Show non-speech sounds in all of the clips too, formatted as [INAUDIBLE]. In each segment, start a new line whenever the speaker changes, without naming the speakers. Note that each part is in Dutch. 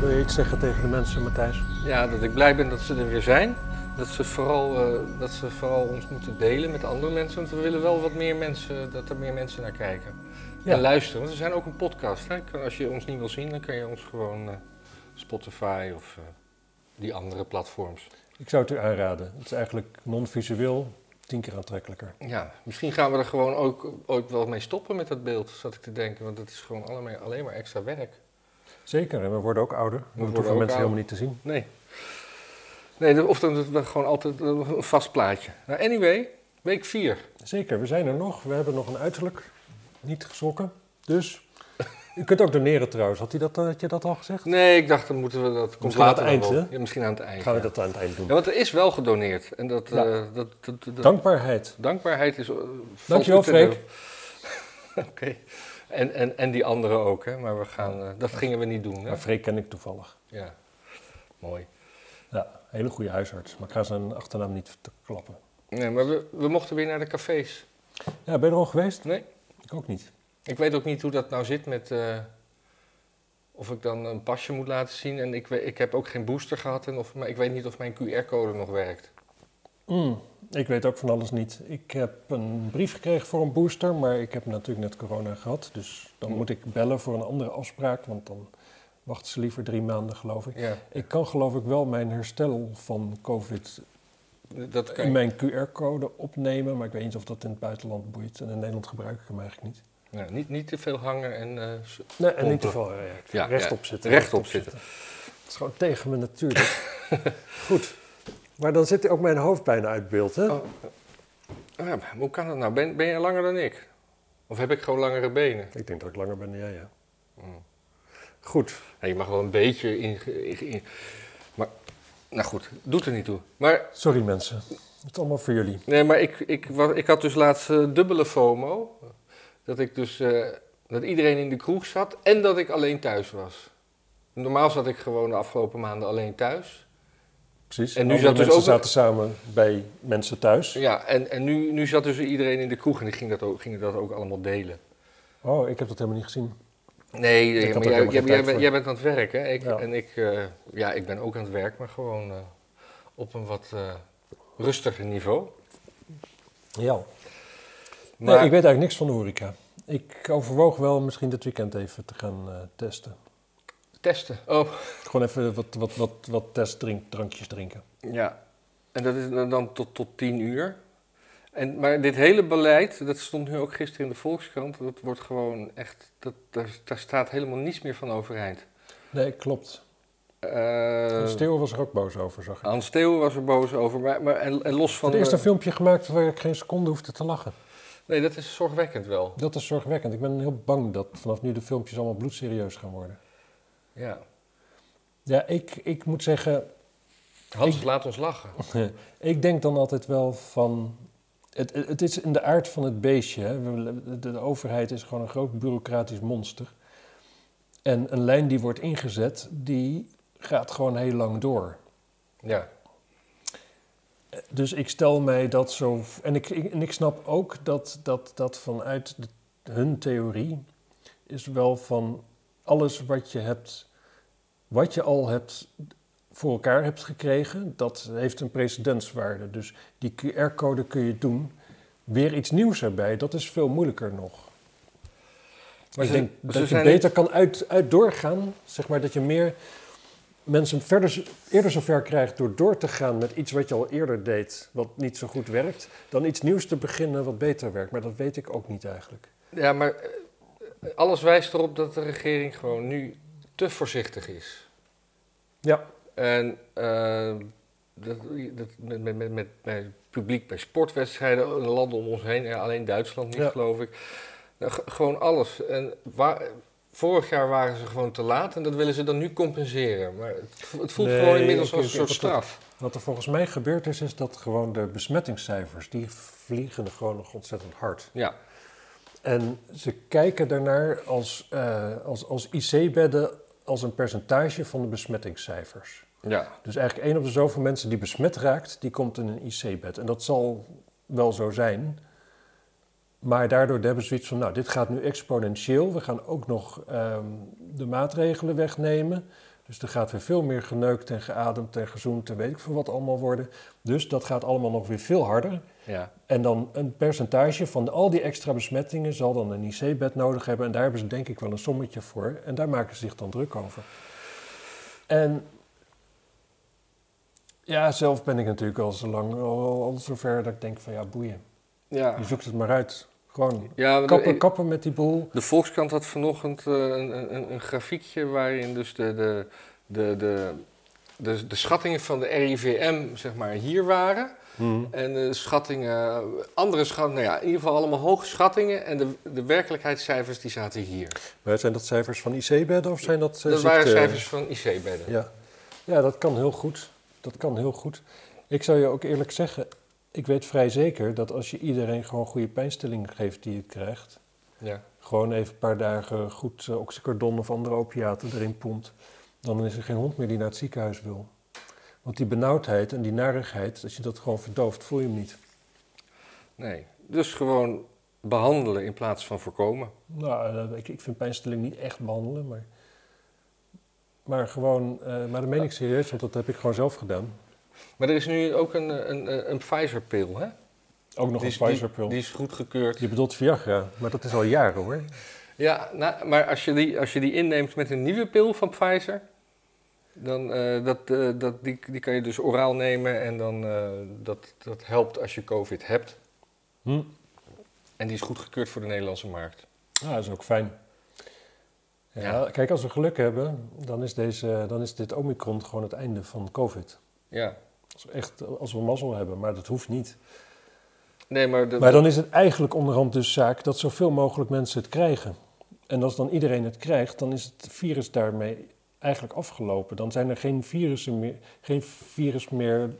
je iets zeggen tegen de mensen, Matthijs?
Ja, dat ik blij ben dat ze er weer zijn. Dat ze, vooral, eh, dat ze vooral ons moeten delen met andere mensen. Want we willen wel wat meer mensen, dat er meer mensen naar kijken.
Ja.
En luisteren. Want we zijn ook een podcast. Hè? Je kan- Als je ons niet wil zien, dan kan je ons gewoon eh, Spotify of eh, die andere platforms.
Ik zou het u aanraden. Het is eigenlijk non-visueel tien keer aantrekkelijker.
Ja, misschien gaan we er gewoon ook ooit wel mee stoppen met dat beeld, zat ik te denken. Want dat is gewoon allemaal, alleen maar extra werk.
Zeker, en we worden ook ouder. We,
worden
hoeven
ook
mensen helemaal
ouder.
niet te zien.
Nee. Nee, de- of dan is het gewoon altijd eh, een vast plaatje. Nou, anyway, week 4.
Zeker, we zijn er nog. We hebben nog een uiterlijk. Niet geschrokken. Dus u kunt ook doneren trouwens. Had, u dat, had je dat al gezegd?
Nee, ik dacht, dan moeten we dat. Komt
Misschien aan
later
het
dan
eind,
wel.
hè?
Ja, misschien aan het eind.
Gaan we
ja.
dat aan het eind doen.
Ja, want er is wel gedoneerd. En dat,
Ja.
eh, dat, dat, dat-
Dankbaarheid.
dankbaarheid is. eh,
Dankjewel,
valt niet te-
Freek.
[LAUGHS] Oké. En, en, en die andere ook, hè? Maar we gaan, eh, dat gingen we niet doen. Hè?
Maar Freek ken ik toevallig.
Ja. Mooi.
Ja, hele goede huisarts. Maar ik ga zijn achternaam niet te klappen.
Nee, maar we, we mochten weer naar de cafés.
Ja, ben je er al geweest?
Nee.
Ik ook niet.
Ik weet ook niet hoe dat nou zit met. eh, of ik dan een pasje moet laten zien. En ik, we- ik heb ook geen booster gehad. En of, maar ik weet niet of mijn QR-code nog werkt.
Mm, ik weet ook van alles niet. Ik heb een brief gekregen voor een booster, maar ik heb natuurlijk net corona gehad. Dus dan
Mm.
moet ik bellen voor een andere afspraak, want dan wachten ze liever drie maanden, geloof ik.
Ja,
Ik kan geloof ik wel mijn herstel van COVID
dat
in
kan je-
mijn QR-code opnemen, maar ik weet niet of dat in het buitenland boeit. En in Nederland gebruik ik hem eigenlijk niet.
Ja, niet, niet te veel hangen en eh, s-
Nee, en niet
Pompen.
te veel react-
Ja,
rechtop
ja,
zitten.
rechtop zitten.
Het is gewoon tegen me
[LAUGHS]
natuurlijk. Goed. Maar dan zit ook mijn hoofd bijna uit beeld, hè?
Oh. Ja, maar hoe kan dat nou? Ben, ben je langer dan ik? Of heb ik gewoon langere benen?
Ik denk dat ik langer ben dan jij, ja.
Mm.
Goed.
Ja, je mag wel een beetje in, in- in- Maar, nou goed, doet er niet toe. Maar,
Sorry mensen. Het is allemaal voor jullie.
nee, maar ik, ik, wa- ik had dus laatst eh, dubbele FOMO. Dat ik dus... eh, dat iedereen in de kroeg zat en dat ik alleen thuis was. Normaal zat ik gewoon de afgelopen maanden alleen thuis.
Precies.
En nu
Andere
zat dus
mensen
ook-
zaten samen bij mensen thuis.
Ja, en, en nu, nu zat dus iedereen in de kroeg en die ging dat ook, ging dat ook allemaal delen.
Oh, ik heb dat helemaal niet gezien.
Nee,
Ik
eh,
had
maar
er
jij,
helemaal
jij,
geen
jij
tijd
bent,
voor.
jij bent aan het werk, hè? Ik,
Ja.
En ik, eh, ja, ik ben ook aan het werk, maar gewoon eh, op een wat eh, rustiger niveau.
Ja.
Maar
Nee, ik weet eigenlijk niks van de horeca. Ik overwoog wel misschien dit weekend even te gaan eh, testen.
testen. Oh,
Gewoon even wat, wat, wat, wat testdrankjes drinken.
ja. En dat is dan- dan tot, tot tien uur. En, maar dit hele beleid, dat stond nu ook gisteren in de Volkskrant, dat wordt gewoon echt, dat, daar, daar staat helemaal niets meer van overeind.
Nee, klopt.
Eh
Hans Steeuwen was er ook boos over, zag ik.
Hans Theo was er boos over, maar, maar en, en los van...
Er is
eh,
een filmpje gemaakt waar ik geen seconde hoefde te lachen.
Nee, dat is zorgwekkend wel.
Dat is zorgwekkend. Ik ben heel bang dat vanaf nu de filmpjes allemaal bloedserieus gaan worden.
Ja.
Ja, ik, ik moet zeggen,
Hans, laat ons lachen.
Eh, ik denk dan altijd wel van. Het, het het is in de aard van het beestje. Hè. We- De, de overheid is gewoon een groot bureaucratisch monster. En een lijn die wordt ingezet, die gaat gewoon heel lang door.
Ja.
Dus ik stel mij dat zo. En ik, ik- en ik snap ook dat, dat, dat vanuit de- hun theorie is wel van alles wat je hebt, wat je al hebt voor elkaar hebt gekregen, dat heeft een precedentswaarde. Dus die QR-code kun je doen. Weer iets nieuws erbij, dat is veel moeilijker nog. Maar ik
Ze-
denk
ze
dat je
zijn-
beter kan uit, uit doorgaan, zeg maar, dat je meer mensen verder, z- eerder zover krijgt door door te gaan met iets wat je al eerder deed, wat niet zo goed werkt, dan iets nieuws te beginnen wat beter werkt. Maar dat weet ik ook niet eigenlijk.
Ja, maar eh, alles wijst erop dat de regering gewoon nu te voorzichtig is.
Ja,
En eh, dat, dat, met, met, met, met, met publiek bij sportwedstrijden, eh, landen om ons heen, ja, alleen Duitsland niet,
Ja.
geloof ik. Nou, ge- gewoon alles. En waar, vorig jaar waren ze gewoon te laat en dat willen ze dan nu compenseren. Maar het, vo- het voelt
Nee,
gewoon inmiddels
ik-
als een
ik-
soort
ik-
straf.
wat er volgens mij gebeurd is, is dat gewoon de besmettingscijfers, die vliegen gewoon nog ontzettend hard.
Ja,
En ze kijken daarnaar als, eh, als, als IC-bedden als een percentage van de besmettingscijfers.
ja.
Dus eigenlijk één op de zoveel mensen die besmet raakt, die komt in een IC-bed. En dat zal wel zo zijn. Maar daardoor hebben ze zoiets van, nou, dit gaat nu exponentieel. We gaan ook nog ehm, de maatregelen wegnemen. Dus er gaat weer veel meer geneukt en geademd en gezoend en weet ik veel wat allemaal worden. Dus dat gaat allemaal nog weer veel harder.
Ja.
En dan een percentage van al die extra besmettingen zal dan een IC-bed nodig hebben. En daar hebben ze denk ik wel een sommetje voor. En daar maken ze zich dan druk over. En ja, zelf ben ik natuurlijk al zo lang, al, al zover dat ik denk van ja, boeien.
Ja.
Je zoekt het maar uit. Gewoon
ja want
kappen,
de-
kappen met die boel.
De Volkskrant had vanochtend eh, een, een, een grafiekje waarin dus de, de, de, de, de, de schattingen van de RIVM zeg maar, hier waren. En de schattingen, andere schattingen, nou ja, in ieder geval allemaal hoge schattingen. En de, de werkelijkheidscijfers die zaten hier.
Maar zijn dat cijfers van IC-bedden of zijn dat... eh,
dat waren
ziekte-
cijfers van IC-bedden.
Ja. ja, dat kan heel goed. Dat kan heel goed. Ik zou je ook eerlijk zeggen, ik weet vrij zeker dat als je iedereen gewoon goede pijnstilling geeft die het krijgt,
Ja.
gewoon even een paar dagen goed eh, oxycodon of andere opiaten erin pompt, dan is er geen hond meer die naar het ziekenhuis wil. Want die benauwdheid en die narigheid, als je dat gewoon verdooft, voel je hem niet.
Nee. Dus gewoon behandelen in plaats van voorkomen.
Nou, eh, ik, ik vind pijnstilling niet echt behandelen, maar, maar gewoon, eh, maar dat meen ik serieus, want dat heb ik gewoon zelf gedaan.
Maar er is nu ook een, een, een, een Pfizer-pil, hè?
Ook nog
die,
een
is- die-
Pfizer-pil.
Die is goedgekeurd.
Je bedoelt Viagra, maar dat is al jaren hoor.
Ja, nou, maar als je, die, als je die inneemt met een nieuwe pil van Pfizer, dan eh, dat, eh, dat, die, die kan je dus oraal nemen en dan, eh, dat, dat helpt als je COVID hebt.
Hm.
En die is goedgekeurd voor de Nederlandse markt.
Ja, dat is ook fijn. Ja,
Ja.
Kijk, als we geluk hebben, dan is, deze, dan is dit Omicron gewoon het einde van COVID.
Ja,
Als we, echt, als we mazzel hebben, maar dat hoeft niet.
nee, maar, de,
Maar dan is het eigenlijk onderhand dus zaak dat zoveel mogelijk mensen het krijgen. En als dan iedereen het krijgt, dan is het virus daarmee eigenlijk afgelopen. Dan zijn er geen, virussen meer, geen virus meer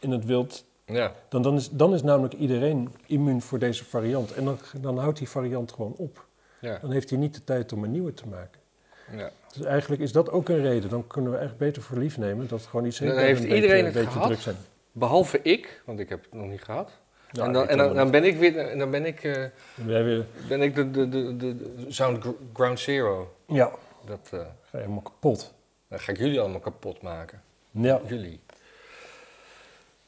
in het wild.
ja,
Dan, dan, is, dan is namelijk iedereen immuun voor deze variant. En dan, dan houdt die variant gewoon op.
ja,
Dan heeft hij niet de tijd om een nieuwe te maken.
ja.
Dus eigenlijk is dat ook een reden. Dan kunnen we echt beter voor lief nemen dat gewoon iets
Dan
heel-
heeft
een beetje-
iedereen
een
het
beetje
gehad.
druk zijn.
Behalve ik, want ik heb het nog niet gehad.
Ja,
en dan,
ik
en dan,
ook
dan
niet.
ben ik weer, dan ben ik, eh,
Dan ben jij weer,
ben ik de, de, de, de sound gr- ground zero.
ja,
Dat, eh,
ga je helemaal kapot.
dan ga ik jullie allemaal kapot maken.
Ja,
Jullie.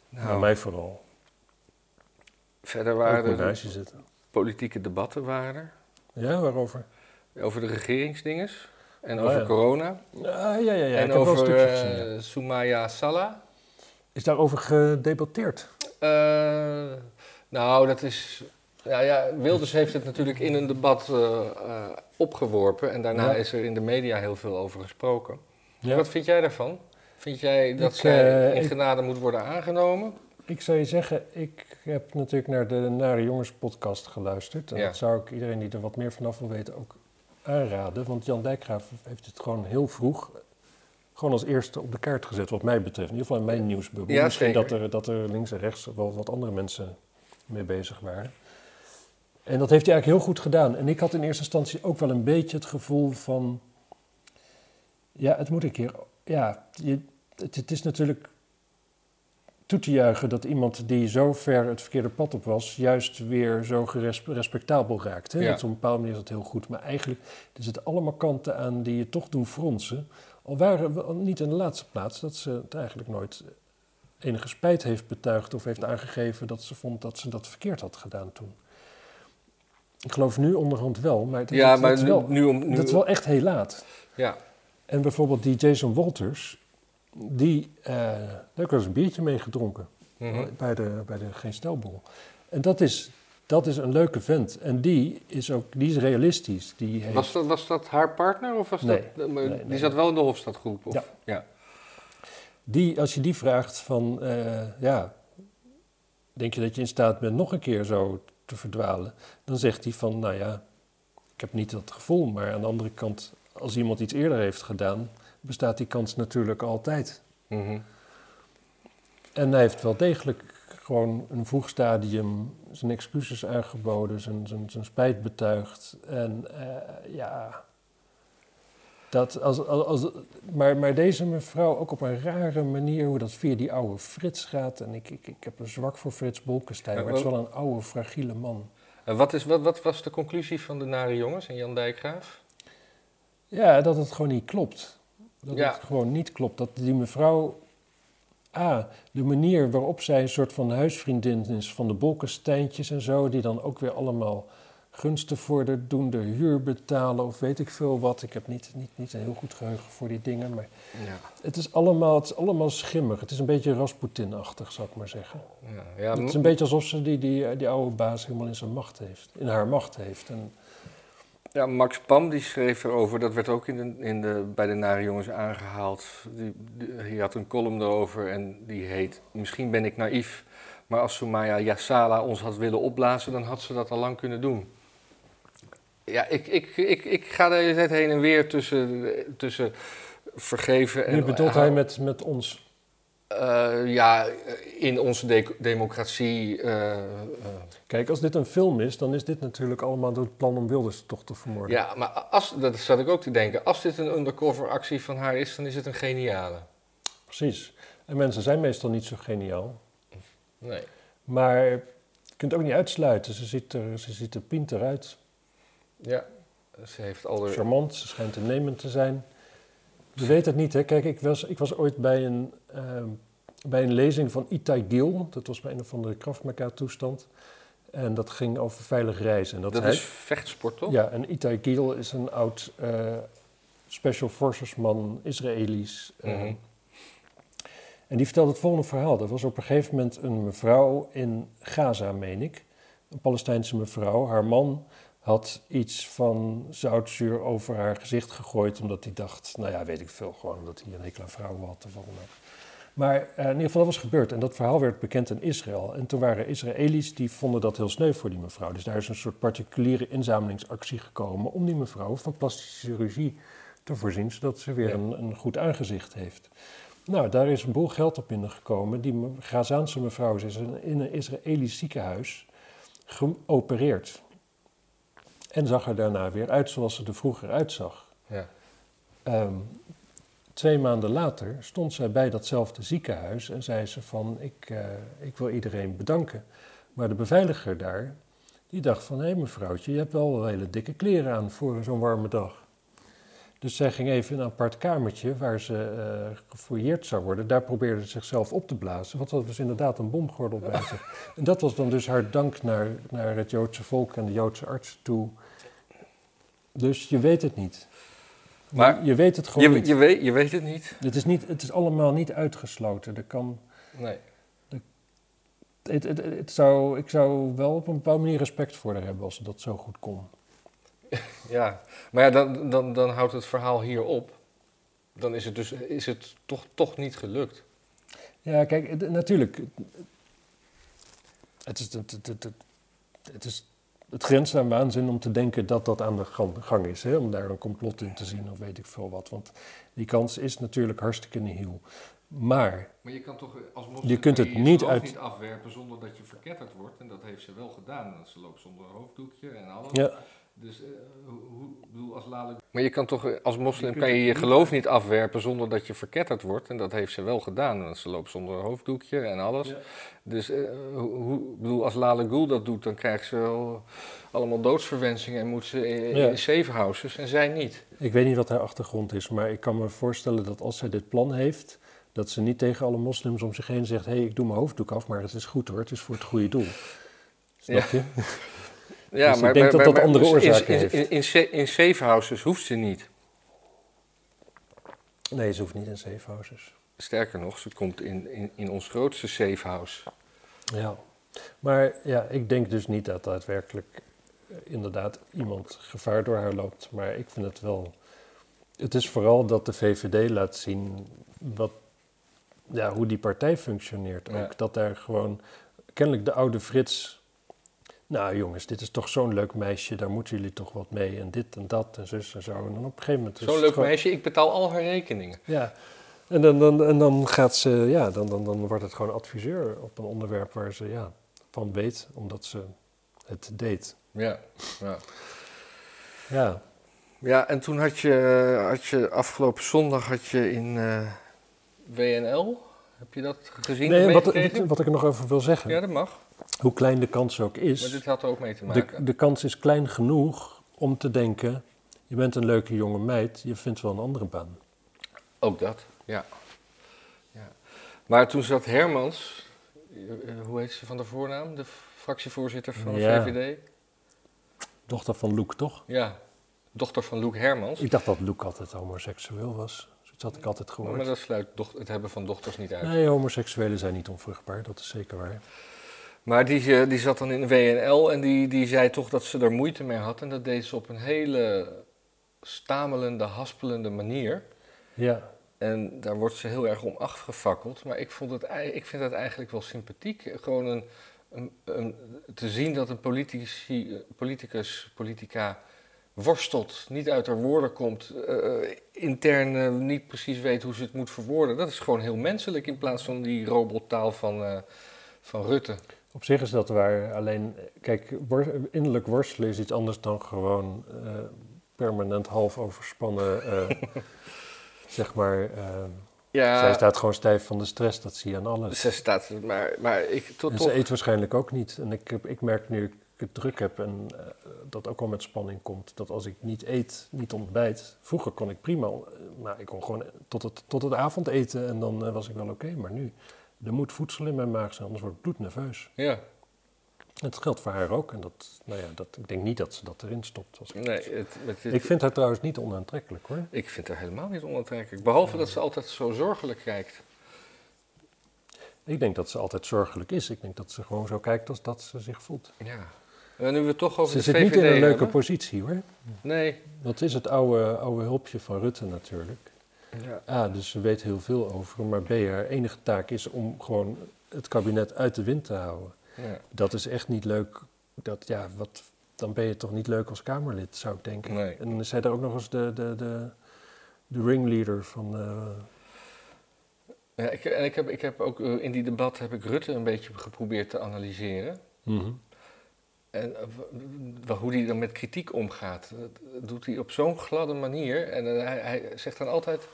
nou, mij vooral.
Verder
Ook
waren
mijn
er
huisje zitten.
politieke debatten waren er,
Ja, waarover?
over de regeringsdinges en
Oh,
over
ja.
corona
Ah, ja, ja, ja.
en
ik
over
heb wel een stukje
eh,
gezien. ja.
Soumaya Salah.
Is daarover gedebatteerd?
Eh, nou, dat is... Ja, ja, Wilders heeft het natuurlijk in een debat eh, eh, opgeworpen en daarna
Ja.
is er in de media heel veel over gesproken.
Ja.
Wat vind jij daarvan? Vind jij dat
Ik,
zij
eh,
in
ik-
genade moet worden aangenomen?
Ik zou je zeggen, ik heb natuurlijk naar de Nare Jongens podcast geluisterd. En
Ja.
dat zou ik iedereen die er wat meer vanaf wil weten ook aanraden. Want Jan Dijkgraaf heeft het gewoon heel vroeg, gewoon als eerste op de kaart gezet, wat mij betreft. In ieder geval in mijn nieuwsbubbel.
Ja,
Misschien
zeker.
dat er, dat er links en rechts wel wat andere mensen mee bezig waren. En dat heeft hij eigenlijk heel goed gedaan. En ik had in eerste instantie ook wel een beetje het gevoel van... Ja, het moet een keer... Ja, je, het, het is natuurlijk toe te juichen dat iemand die zo ver het verkeerde pad op was... juist weer zo geres- respectabel raakt. Hè?
Ja.
Dat op een bepaalde manier is dat heel goed. Maar eigenlijk er zitten allemaal kanten aan die je toch doen fronsen. Al waren we al niet in de laatste plaats dat ze het eigenlijk nooit enige spijt heeft betuigd... of heeft aangegeven dat ze vond dat ze dat verkeerd had gedaan toen. Ik geloof nu onderhand wel, maar dat,
ja,
dat- dat
maar
is
nu,
wel,
nu om... Nu,
dat is wel echt heel laat.
Ja,
En bijvoorbeeld die Jason Walters, die, eh, daar heb ik wel eens een biertje mee gedronken
mhm.
bij, de, bij de Geen Stelboel. En dat is, dat is een leuke vent. En die is ook, die is realistisch. Die heeft,
Was dat, was dat haar partner of was
Nee,
dat...
nee,
die
nee.
zat wel in de Hofstadgroep? Of?
Ja.
ja.
die, als je die vraagt van, eh, ja, denk je dat je in staat bent nog een keer zo te verdwalen? Dan zegt hij van, nou ja, ik heb niet dat gevoel. Maar aan de andere kant, als iemand iets eerder heeft gedaan, bestaat die kans natuurlijk altijd.
Mhm.
En hij heeft wel degelijk gewoon een vroeg stadium zijn excuses aangeboden, zijn, zijn, zijn spijt betuigd. En eh, ja, dat als, als, als- maar, maar deze mevrouw ook op een rare manier, hoe dat via die oude Frits gaat. En ik, ik, ik heb een zwak voor Frits Bolkestein, maar het is wel een oude, fragiele man.
En wat, is, wat, wat was de conclusie van de Nare Jongens en Jan Dijkgraaf?
Ja, dat het gewoon niet klopt. Dat
Ja.
het gewoon niet klopt. Dat die mevrouw A, de manier waarop zij een soort van huisvriendin is van de Bolkesteintjes en zo, die dan ook weer allemaal gunsten voor de doen, de huur betalen of weet ik veel wat. Ik heb niet, niet, niet een heel goed geheugen voor die dingen, maar
Ja,
het is allemaal, het is allemaal schimmig. Het is een beetje Rasputin-achtig, zou ik maar zeggen.
ja, ja,
het is een beetje alsof ze die, die, die oude baas helemaal in zijn macht heeft, in haar macht heeft. En,
Ja, Max Pam die schreef erover, dat werd ook in de, in de, bij de Nare Jongens aangehaald. Die, die- hij had een column erover en die heet Misschien ben ik naïef, maar als Soumaya Yassala ons had willen opblazen, dan had ze dat al lang kunnen doen. Ja, ik, ik, ik, ik ga de hele tijd heen en weer tussen, tussen vergeven en...
nu bedoelt hij met, met ons.
Eh, ja, in onze de- democratie... eh, eh,
Kijk, als dit een film is, dan is dit natuurlijk allemaal door het plan om Wilders toch te vermoorden.
ja, maar als, dat zat ik ook te denken. Als dit een undercover actie van haar is, dan is het een geniale.
Precies. En mensen zijn meestal niet zo geniaal.
Nee.
Maar je kunt het ook niet uitsluiten. Ze ziet er, ze ziet er pinter uit.
Ja, ze heeft al haar-
Charmant, ze schijnt innemend te zijn. Je weet het niet, hè. Kijk, ik was, ik was ooit bij een, ehm, bij een lezing van Itai Gil. Dat was bij een of andere Krav Maga toestand. En dat ging over veilig reizen. En dat,
Dat,
hij-
is vechtsport, toch?
Ja, en Itai Gil is een oud eh, special forces man, Israëli's. eh,
Mhm.
En die vertelde het volgende verhaal. Er was op een gegeven moment een mevrouw in Gaza, meen ik. Een Palestijnse mevrouw. Haar man had iets van zoutzuur over haar gezicht gegooid. Omdat hij dacht, nou ja, weet ik veel. Gewoon omdat hij een hekel aan vrouwen had of wat dan ook. Maar eh, in ieder geval, dat was gebeurd. En dat verhaal werd bekend in Israël. En toen waren Israëli's, die vonden dat heel sneu voor die mevrouw. Dus daar is een soort particuliere inzamelingsactie gekomen... om die mevrouw van plastische chirurgie te voorzien... zodat ze weer
Ja.
een, een goed aangezicht heeft. Nou, daar is een boel geld op binnengekomen. Die me- Gazaanse mevrouw is in- in een Israëlisch ziekenhuis geopereerd. En zag er daarna weer uit zoals ze er vroeger uitzag.
Ja.
Ehm, twee maanden later stond zij bij datzelfde ziekenhuis en zei ze van... Ik, eh, ik wil iedereen bedanken. Maar de beveiliger daar, die dacht van... Hé mevrouwtje, je hebt wel hele dikke kleren aan voor zo'n warme dag. Dus zij ging even in een apart kamertje waar ze eh gefouilleerd zou worden. Daar probeerde ze zichzelf op te blazen, want ze had dus inderdaad een bomgordel bij zich. En dat was dan dus haar dank naar, naar het Joodse volk en de Joodse artsen toe. Dus je weet het niet.
Maar
je, je weet het gewoon
Je,
niet.
je, weet, je weet het niet.
Het is, niet, het is allemaal niet uitgesloten. Er kan,
Nee.
het, het, het zou, ik zou wel op een bepaalde manier respect voor haar hebben als ze dat zo goed kon.
Ja. Maar ja, dan, dan, dan houdt het verhaal hier op. Dan is het dus is het toch, toch niet gelukt.
Ja, kijk, het- natuurlijk. het- Het is, het, het, het, het is het grenst aan waanzin om te denken dat dat aan de gang, gang is. Hè? Om daar een complot in te zien of weet ik veel wat. Want die kans is natuurlijk hartstikke nihil. Maar
Maar je kan toch eh, als
Je kunt het niet uit-
afwerpen zonder dat je verketterd wordt. En dat heeft ze wel gedaan. Want ze loopt zonder hoofddoekje en alles.
ja,
Dus eh, hoe, hoe bedoel als Lale
Maar je kan toch eh, als moslim kan je je geloof niet afwerpen zonder dat je verketterd wordt. En dat heeft ze wel gedaan. Want ze loopt zonder een hoofddoekje en alles.
Ja.
Dus eh, hoe, hoe- ik bedoel, als Lale Gül dat doet, dan krijgt ze wel allemaal doodsverwensingen en moet ze in,
Ja.
in safe houses en zij niet.
ik weet niet wat haar achtergrond is. Maar ik kan me voorstellen dat als zij dit plan heeft... dat ze niet tegen alle moslims om zich heen zegt... hé, hey, ik doe mijn hoofddoek af, maar het is goed hoor. Het is voor het goede doel. Snap je? Dus ik denk dat dat andere
dus in-
oorzaken
in, in, in, sa- in safe houses hoeft ze niet.
Nee, ze hoeft niet in safe houses.
Sterker nog, ze komt in, in, in ons grootste safe house.
Ja, maar ja, ik denk dus niet dat daadwerkelijk eh, inderdaad iemand gevaar door haar loopt. Maar ik vind het wel. Het is vooral dat de VVD laat zien wat, ja, hoe die partij functioneert.
Ja.
Ook dat daar gewoon kennelijk de oude Frits. Nou jongens, dit is toch zo'n leuk meisje, daar moeten jullie toch wat mee. En dit en dat en zus en zo. En dan op een gegeven moment. is
Zo'n
het
leuk
gewoon-
meisje, ik betaal al haar rekeningen.
Ja. En dan, dan, en dan gaat ze, ja, dan, dan, dan wordt het gewoon adviseur op een onderwerp waar ze ja, van weet, omdat ze het deed.
Ja, ja.
Ja,
Ja, en toen had je, had je afgelopen zondag had je in eh, WNL, heb je dat gezien?
nee, wat,
meegekregen?
wat ik er nog over wil zeggen,
Ja, dat mag.
hoe klein de kans ook is,
Maar dit had er ook mee te
de,
maken.
de kans is klein genoeg om te denken, je bent een leuke jonge meid, je vindt wel een andere baan.
Ook dat, ja. ja. Maar toen zat Hermans, eh, hoe heet ze van de voornaam? De fractievoorzitter van de
Ja.
VVD?
Dochter van Luc, toch?
Ja, dochter van Luc Hermans.
Ik dacht dat Luc altijd homoseksueel was. Zoiets had ik altijd
Maar
gehoord.
dat sluit doch- het hebben van dochters niet uit.
Nee, homoseksuelen zijn niet onvruchtbaar, dat is zeker waar.
Maar die, eh, die zat dan in de WNL en die, die zei toch dat ze er moeite mee had. En dat deed ze op een hele stamelende, haspelende manier.
Ja,
En daar wordt ze heel erg om afgefakkeld. Maar ik, vond het, ei- ik vind dat eigenlijk wel sympathiek. Gewoon een, een, een- te zien dat een politici, eh, politicus, politica worstelt, niet uit haar woorden komt, eh, intern eh, niet precies weet hoe ze het moet verwoorden. Dat is gewoon heel menselijk in plaats van die robottaal van, eh, van Rutte.
op zich is dat waar. Alleen, kijk, wor- innerlijk worstelen is iets anders dan gewoon eh, permanent half overspannen, eh, [LAUGHS] zeg maar. eh,
Ja,
zij staat gewoon stijf van de stress, dat zie je aan alles.
Ze staat, maar, maar ik tot
En
toch.
ze eet waarschijnlijk ook niet. En ik, heb- ik merk nu ik het druk heb en eh, dat ook wel met spanning komt, dat als ik niet eet, niet ontbijt. Vroeger kon ik prima, eh, maar ik kon gewoon tot het, tot het avond eten en dan eh, was ik wel oké. Maar nu, er moet voedsel in mijn maag zijn, anders word ik bloednerveus.
Ja,
Het geldt voor haar ook en dat, nou ja, dat, ik denk niet dat ze dat erin stopt. Als ik,
nee, het, met dit-
ik vind haar trouwens niet onaantrekkelijk hoor.
ik vind haar helemaal niet onaantrekkelijk. Behalve dat ze altijd zo zorgelijk kijkt.
Ik denk dat ze altijd zorgelijk is. Ik denk dat ze gewoon zo kijkt als dat ze zich voelt.
Ja. En nu we het toch over
Ze
de
zit
VVD
niet in een leuke
hebben.
positie hoor.
Nee.
Dat is het oude, oude hulpje van Rutte natuurlijk.
Ja.
A, dus ze weet heel veel over hem, maar B, haar enige taak is om gewoon het kabinet uit de wind te houden. Dat is echt niet leuk. Dat, ja, wat, dan ben je toch niet leuk als Kamerlid, zou ik denken.
Nee.
En dan is hij daar ook nog eens de, de, de, de ringleader van... eh,
Ja, ik, en ik heb, ik heb ook eh, in die debat heb ik Rutte een beetje geprobeerd te analyseren.
Mhm.
En eh, w- w- hoe hij dan met kritiek omgaat. Dat doet hij op zo'n gladde manier. En eh, hij, hij zegt dan altijd.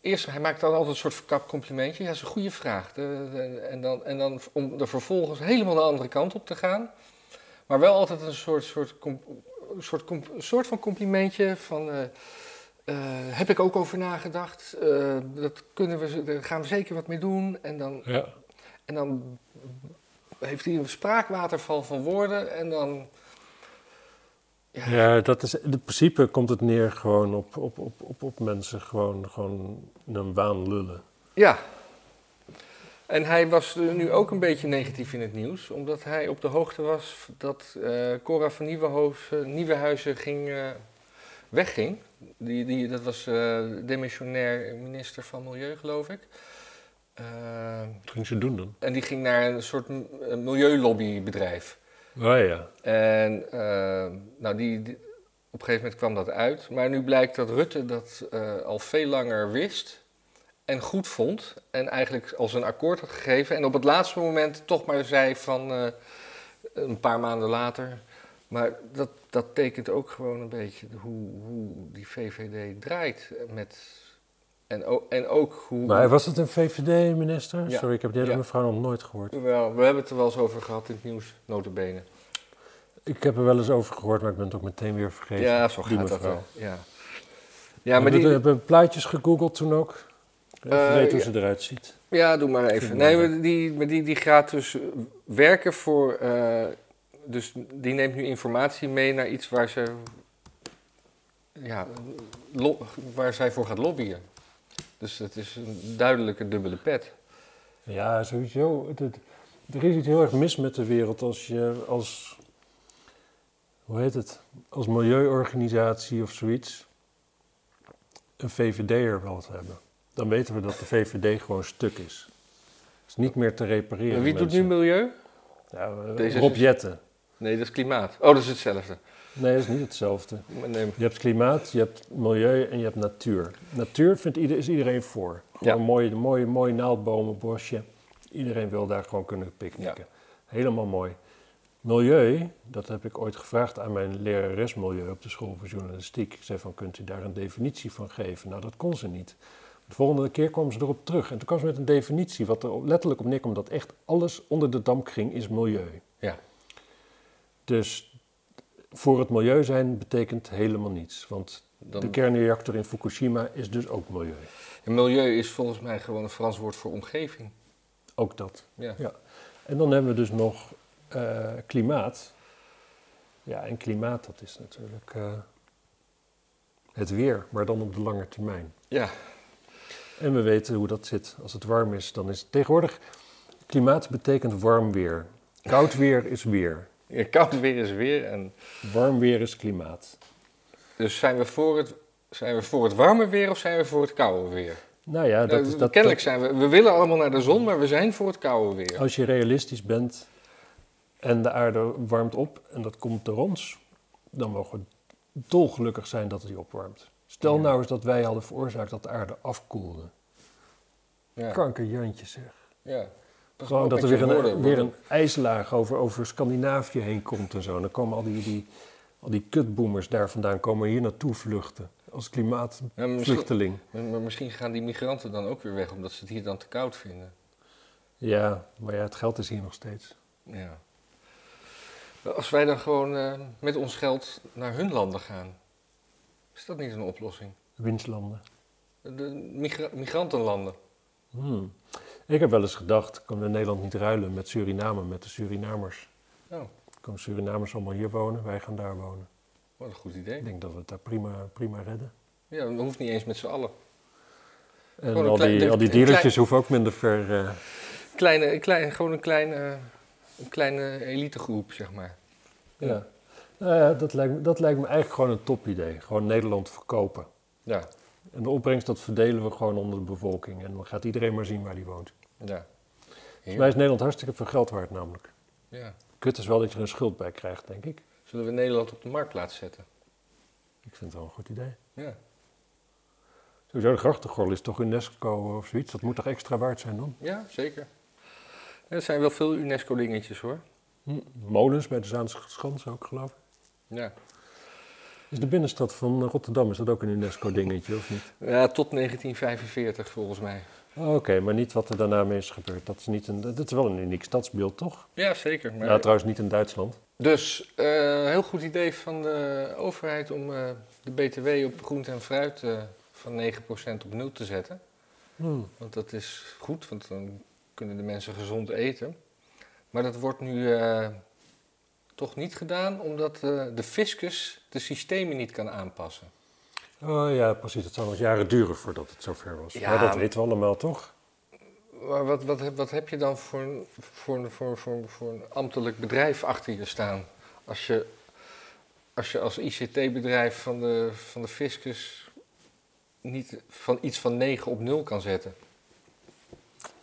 Eerst, hij maakt dan altijd een soort verkapt complimentje. Ja, dat is een goede vraag. De- de- en, dan, en dan om er vervolgens helemaal de andere kant op te gaan. Maar wel altijd een soort, soort, com- soort, com- soort van complimentje van... eh, eh, heb ik ook over nagedacht. Eh, dat kunnen we, z- daar gaan we zeker wat mee doen. En dan
Ja.
en dan heeft hij een spraakwaterval van woorden en dan...
ja, dat is... In principe komt het neer gewoon op, op, op, op, op mensen gewoon, gewoon een waan lullen.
Ja. En hij was eh, nu ook een beetje negatief in het nieuws, omdat hij op de hoogte was dat eh, Cora van Nieuwenhuizen, Nieuwenhuizen ging, eh, wegging. Die, die, dat was eh, demissionair minister van Milieu, geloof ik. Eh,
Wat ging ze doen dan?
en die ging naar een soort m- een milieulobbybedrijf.
Oh ja.
En eh, nou, die, die- op een gegeven moment kwam dat uit. Maar nu blijkt dat Rutte dat eh, al veel langer wist en goed vond. En eigenlijk als een akkoord had gegeven. En op het laatste moment toch maar zei van eh, een paar maanden later. Maar dat, dat tekent ook gewoon een beetje hoe, hoe die VVD draait. Met, en, ook, en ook hoe...
Maar was het een VVD-minister?
Ja.
Sorry, ik heb die hele
Ja.
mevrouw nog nooit gehoord.
Wel, we hebben het er wel eens over gehad in het nieuws, notabene.
Ik heb er wel eens over gehoord, maar ik ben het ook meteen weer vergeten.
Ja, zo
Die
gaat dat
mevrouw.
wel. Ja,
Ja,
ja
maar eh,
maar
We
die...
hebben plaatjes gegoogeld toen ook. Even
Eh,
weten hoe
ja.
ze eruit ziet.
Ja, doe maar
Vind
even.
ik
Nee,
wel.
maar die, maar die, die gaat dus werken voor. eh, dus die neemt nu informatie mee naar iets waar ze. Ja, lo- waar zij voor gaat lobbyen. Dus het is een duidelijke dubbele pet.
Ja, sowieso. Het, het- er is iets heel erg mis met de wereld als je als... Hoe heet het? Als milieuorganisatie of zoiets... een VVD'er wilt hebben. Dan weten we dat de VVD gewoon stuk is. Het is niet meer te repareren.
wie doet nu
mensen.
milieu?
Ja, eh,
Deze
Rob
is-
Jetten.
Nee, dat is klimaat. Oh, dat is hetzelfde.
Nee, dat is niet hetzelfde.
Nee,
Je hebt klimaat, je hebt milieu en je hebt natuur. Natuur vindt ieder, is iedereen voor. Gewoon
Ja.
mooie, mooie, mooie naaldbomen, bosje. Iedereen wil daar gewoon kunnen picknicken. Helemaal mooi. Milieu, dat heb ik ooit gevraagd aan mijn lerares milieu op de school voor journalistiek. Ik zei van, kunt u daar een definitie van geven? Nou, dat kon ze niet. De volgende keer kwam ze erop terug. En toen kwam ze met een definitie, wat er letterlijk op neerkwam... dat echt alles onder de damp ging, is milieu.
ja.
Dus voor het milieu zijn betekent helemaal niets. Want
Dan,
De kernreactor in Fukushima is dus ook milieu.
En milieu is volgens mij gewoon een Frans woord voor omgeving.
Ook dat.
Ja.
Ja. En dan hebben we dus nog eh, klimaat. Ja, en klimaat, dat is natuurlijk eh, het weer, maar dan op de lange termijn.
ja.
En we weten hoe dat zit. Als het warm is, dan is het tegenwoordig. Klimaat betekent warm weer. Koud weer is weer.
Ja, Koud weer is weer. En
Warm weer is klimaat.
dus zijn we, voor het, zijn we voor het warme weer of zijn we voor het koude weer?
Nou ja, dat
Nou,
is dat. Oh,
Kennelijk zijn we. We willen allemaal naar de zon, maar we zijn voor het koude weer.
dat- als je realistisch bent en de aarde warmt op en dat komt door ons, dan mogen we dolgelukkig zijn dat het die opwarmt. Stel
Ja.
nou eens dat wij hadden veroorzaakt dat de aarde afkoelde.
Ja.
Kankerjantje zeg.
ja. Pas
Gewoon
op
Oh, dat er
met
weer
je woorden,
een, weer
hoor.
een ijslaag over, over Scandinavië heen komt en zo. Dan komen al die, die, al die kutboomers daar vandaan komen hier naartoe vluchten. Als
Ja, maar misschien-
klimaatvluchteling.
Maar, maar misschien gaan die migranten dan ook weer weg, omdat ze het hier dan te koud vinden.
Ja, maar ja, het geld is hier nog steeds.
Ja. Als wij dan gewoon eh, met ons geld naar hun landen gaan, is dat niet een oplossing?
Winstlanden.
De migra- migrantenlanden.
Hmm. Ik heb wel eens gedacht, kan we Nederland niet ruilen met Suriname, met de Surinamers.
Oh,
Komen Surinamers allemaal hier wonen, wij gaan daar wonen.
wat een goed idee.
Ik denk dat we het daar prima, prima redden.
Ja, dat hoeft niet eens met z'n allen.
En
Gewoon een
al
klein-
die, al die
een klein-
dealertjes hoeven ook minder ver... eh,
Kleine, een klein, gewoon een kleine, een kleine elitegroep, zeg maar.
Ja. Nou ja, dat lijkt, me, dat lijkt me eigenlijk gewoon een topidee. Gewoon Nederland verkopen.
Ja,
En de opbrengst dat verdelen we gewoon onder de bevolking. En dan gaat iedereen maar zien waar die woont.
ja.
Volgens mij is Nederland hartstikke veel geld waard namelijk.
ja.
Kut is wel dat je er een schuld bij krijgt, denk ik.
Zullen we Nederland op de marktplaats zetten?
Ik vind het wel een goed idee.
Ja.
Sowieso, de grachtengordel is toch UNESCO of zoiets? Dat moet toch extra waard zijn dan?
Ja, zeker. Er zijn wel veel UNESCO-dingetjes hoor.
Hm, Molens bij de Zaanse Schans ook, geloof ik.
Ja.
Is de binnenstad van eh, Rotterdam, is dat ook een UNESCO-dingetje of niet? Oh,
ja, tot 1945 volgens mij.
Oké, maar niet wat er daarna mee is gebeurd. Dat is, niet een, dat is wel een uniek stadsbeeld, toch?
Ja, zeker. Maar...
Nou, trouwens niet in Duitsland.
Dus, eh heel goed idee van de overheid om eh, de BTW op groente en fruit eh, van 9% op nul te zetten.
Hm.
Want dat is goed, want dan kunnen de mensen gezond eten. Maar dat wordt nu eh, toch niet gedaan, omdat eh, de fiscus de systemen niet kan aanpassen.
Oh ja, precies. Het zou nog jaren duren voordat het zover was.
Ja,
maar dat
maar-
weten we allemaal, toch?
Maar wat, wat, heb- wat heb je dan voor een, voor, een- voor, een- voor, een- voor een ambtelijk bedrijf achter je staan? Als je als, je als ICT-bedrijf van de, van de fiscus niet van iets van 9 op 0 kan zetten.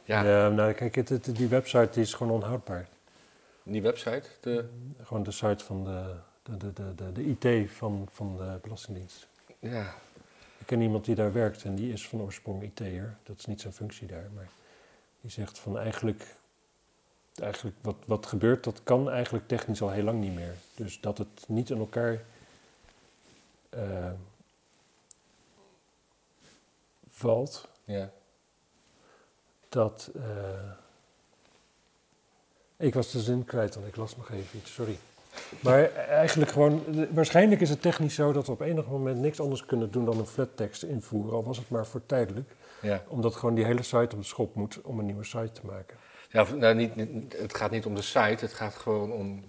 Ja,
nou, kijk, het- het- die website die is gewoon onhoudbaar.
die website. De,
Gewoon de site van de, de, de, de, de, de IT van, van de Belastingdienst.
ja,
Ik ken iemand die daar werkt en die is van oorsprong IT'er. Dat is niet zijn functie daar, maar die zegt van eigenlijk... Eigenlijk wat, wat gebeurt, dat kan eigenlijk technisch al heel lang niet meer. Dus dat het niet in elkaar... eh, valt,
ja.
dat. eh, ik was de zin kwijt, want ik las nog even iets, sorry. Maar eigenlijk gewoon, waarschijnlijk is het technisch zo dat we op enig moment niks anders kunnen doen dan een flattekst invoeren, al was het maar voor tijdelijk.
ja.
Omdat gewoon die hele site op de schop moet om een nieuwe site te maken.
Ja, of- nou, niet, niet- het gaat niet om de site, het gaat gewoon om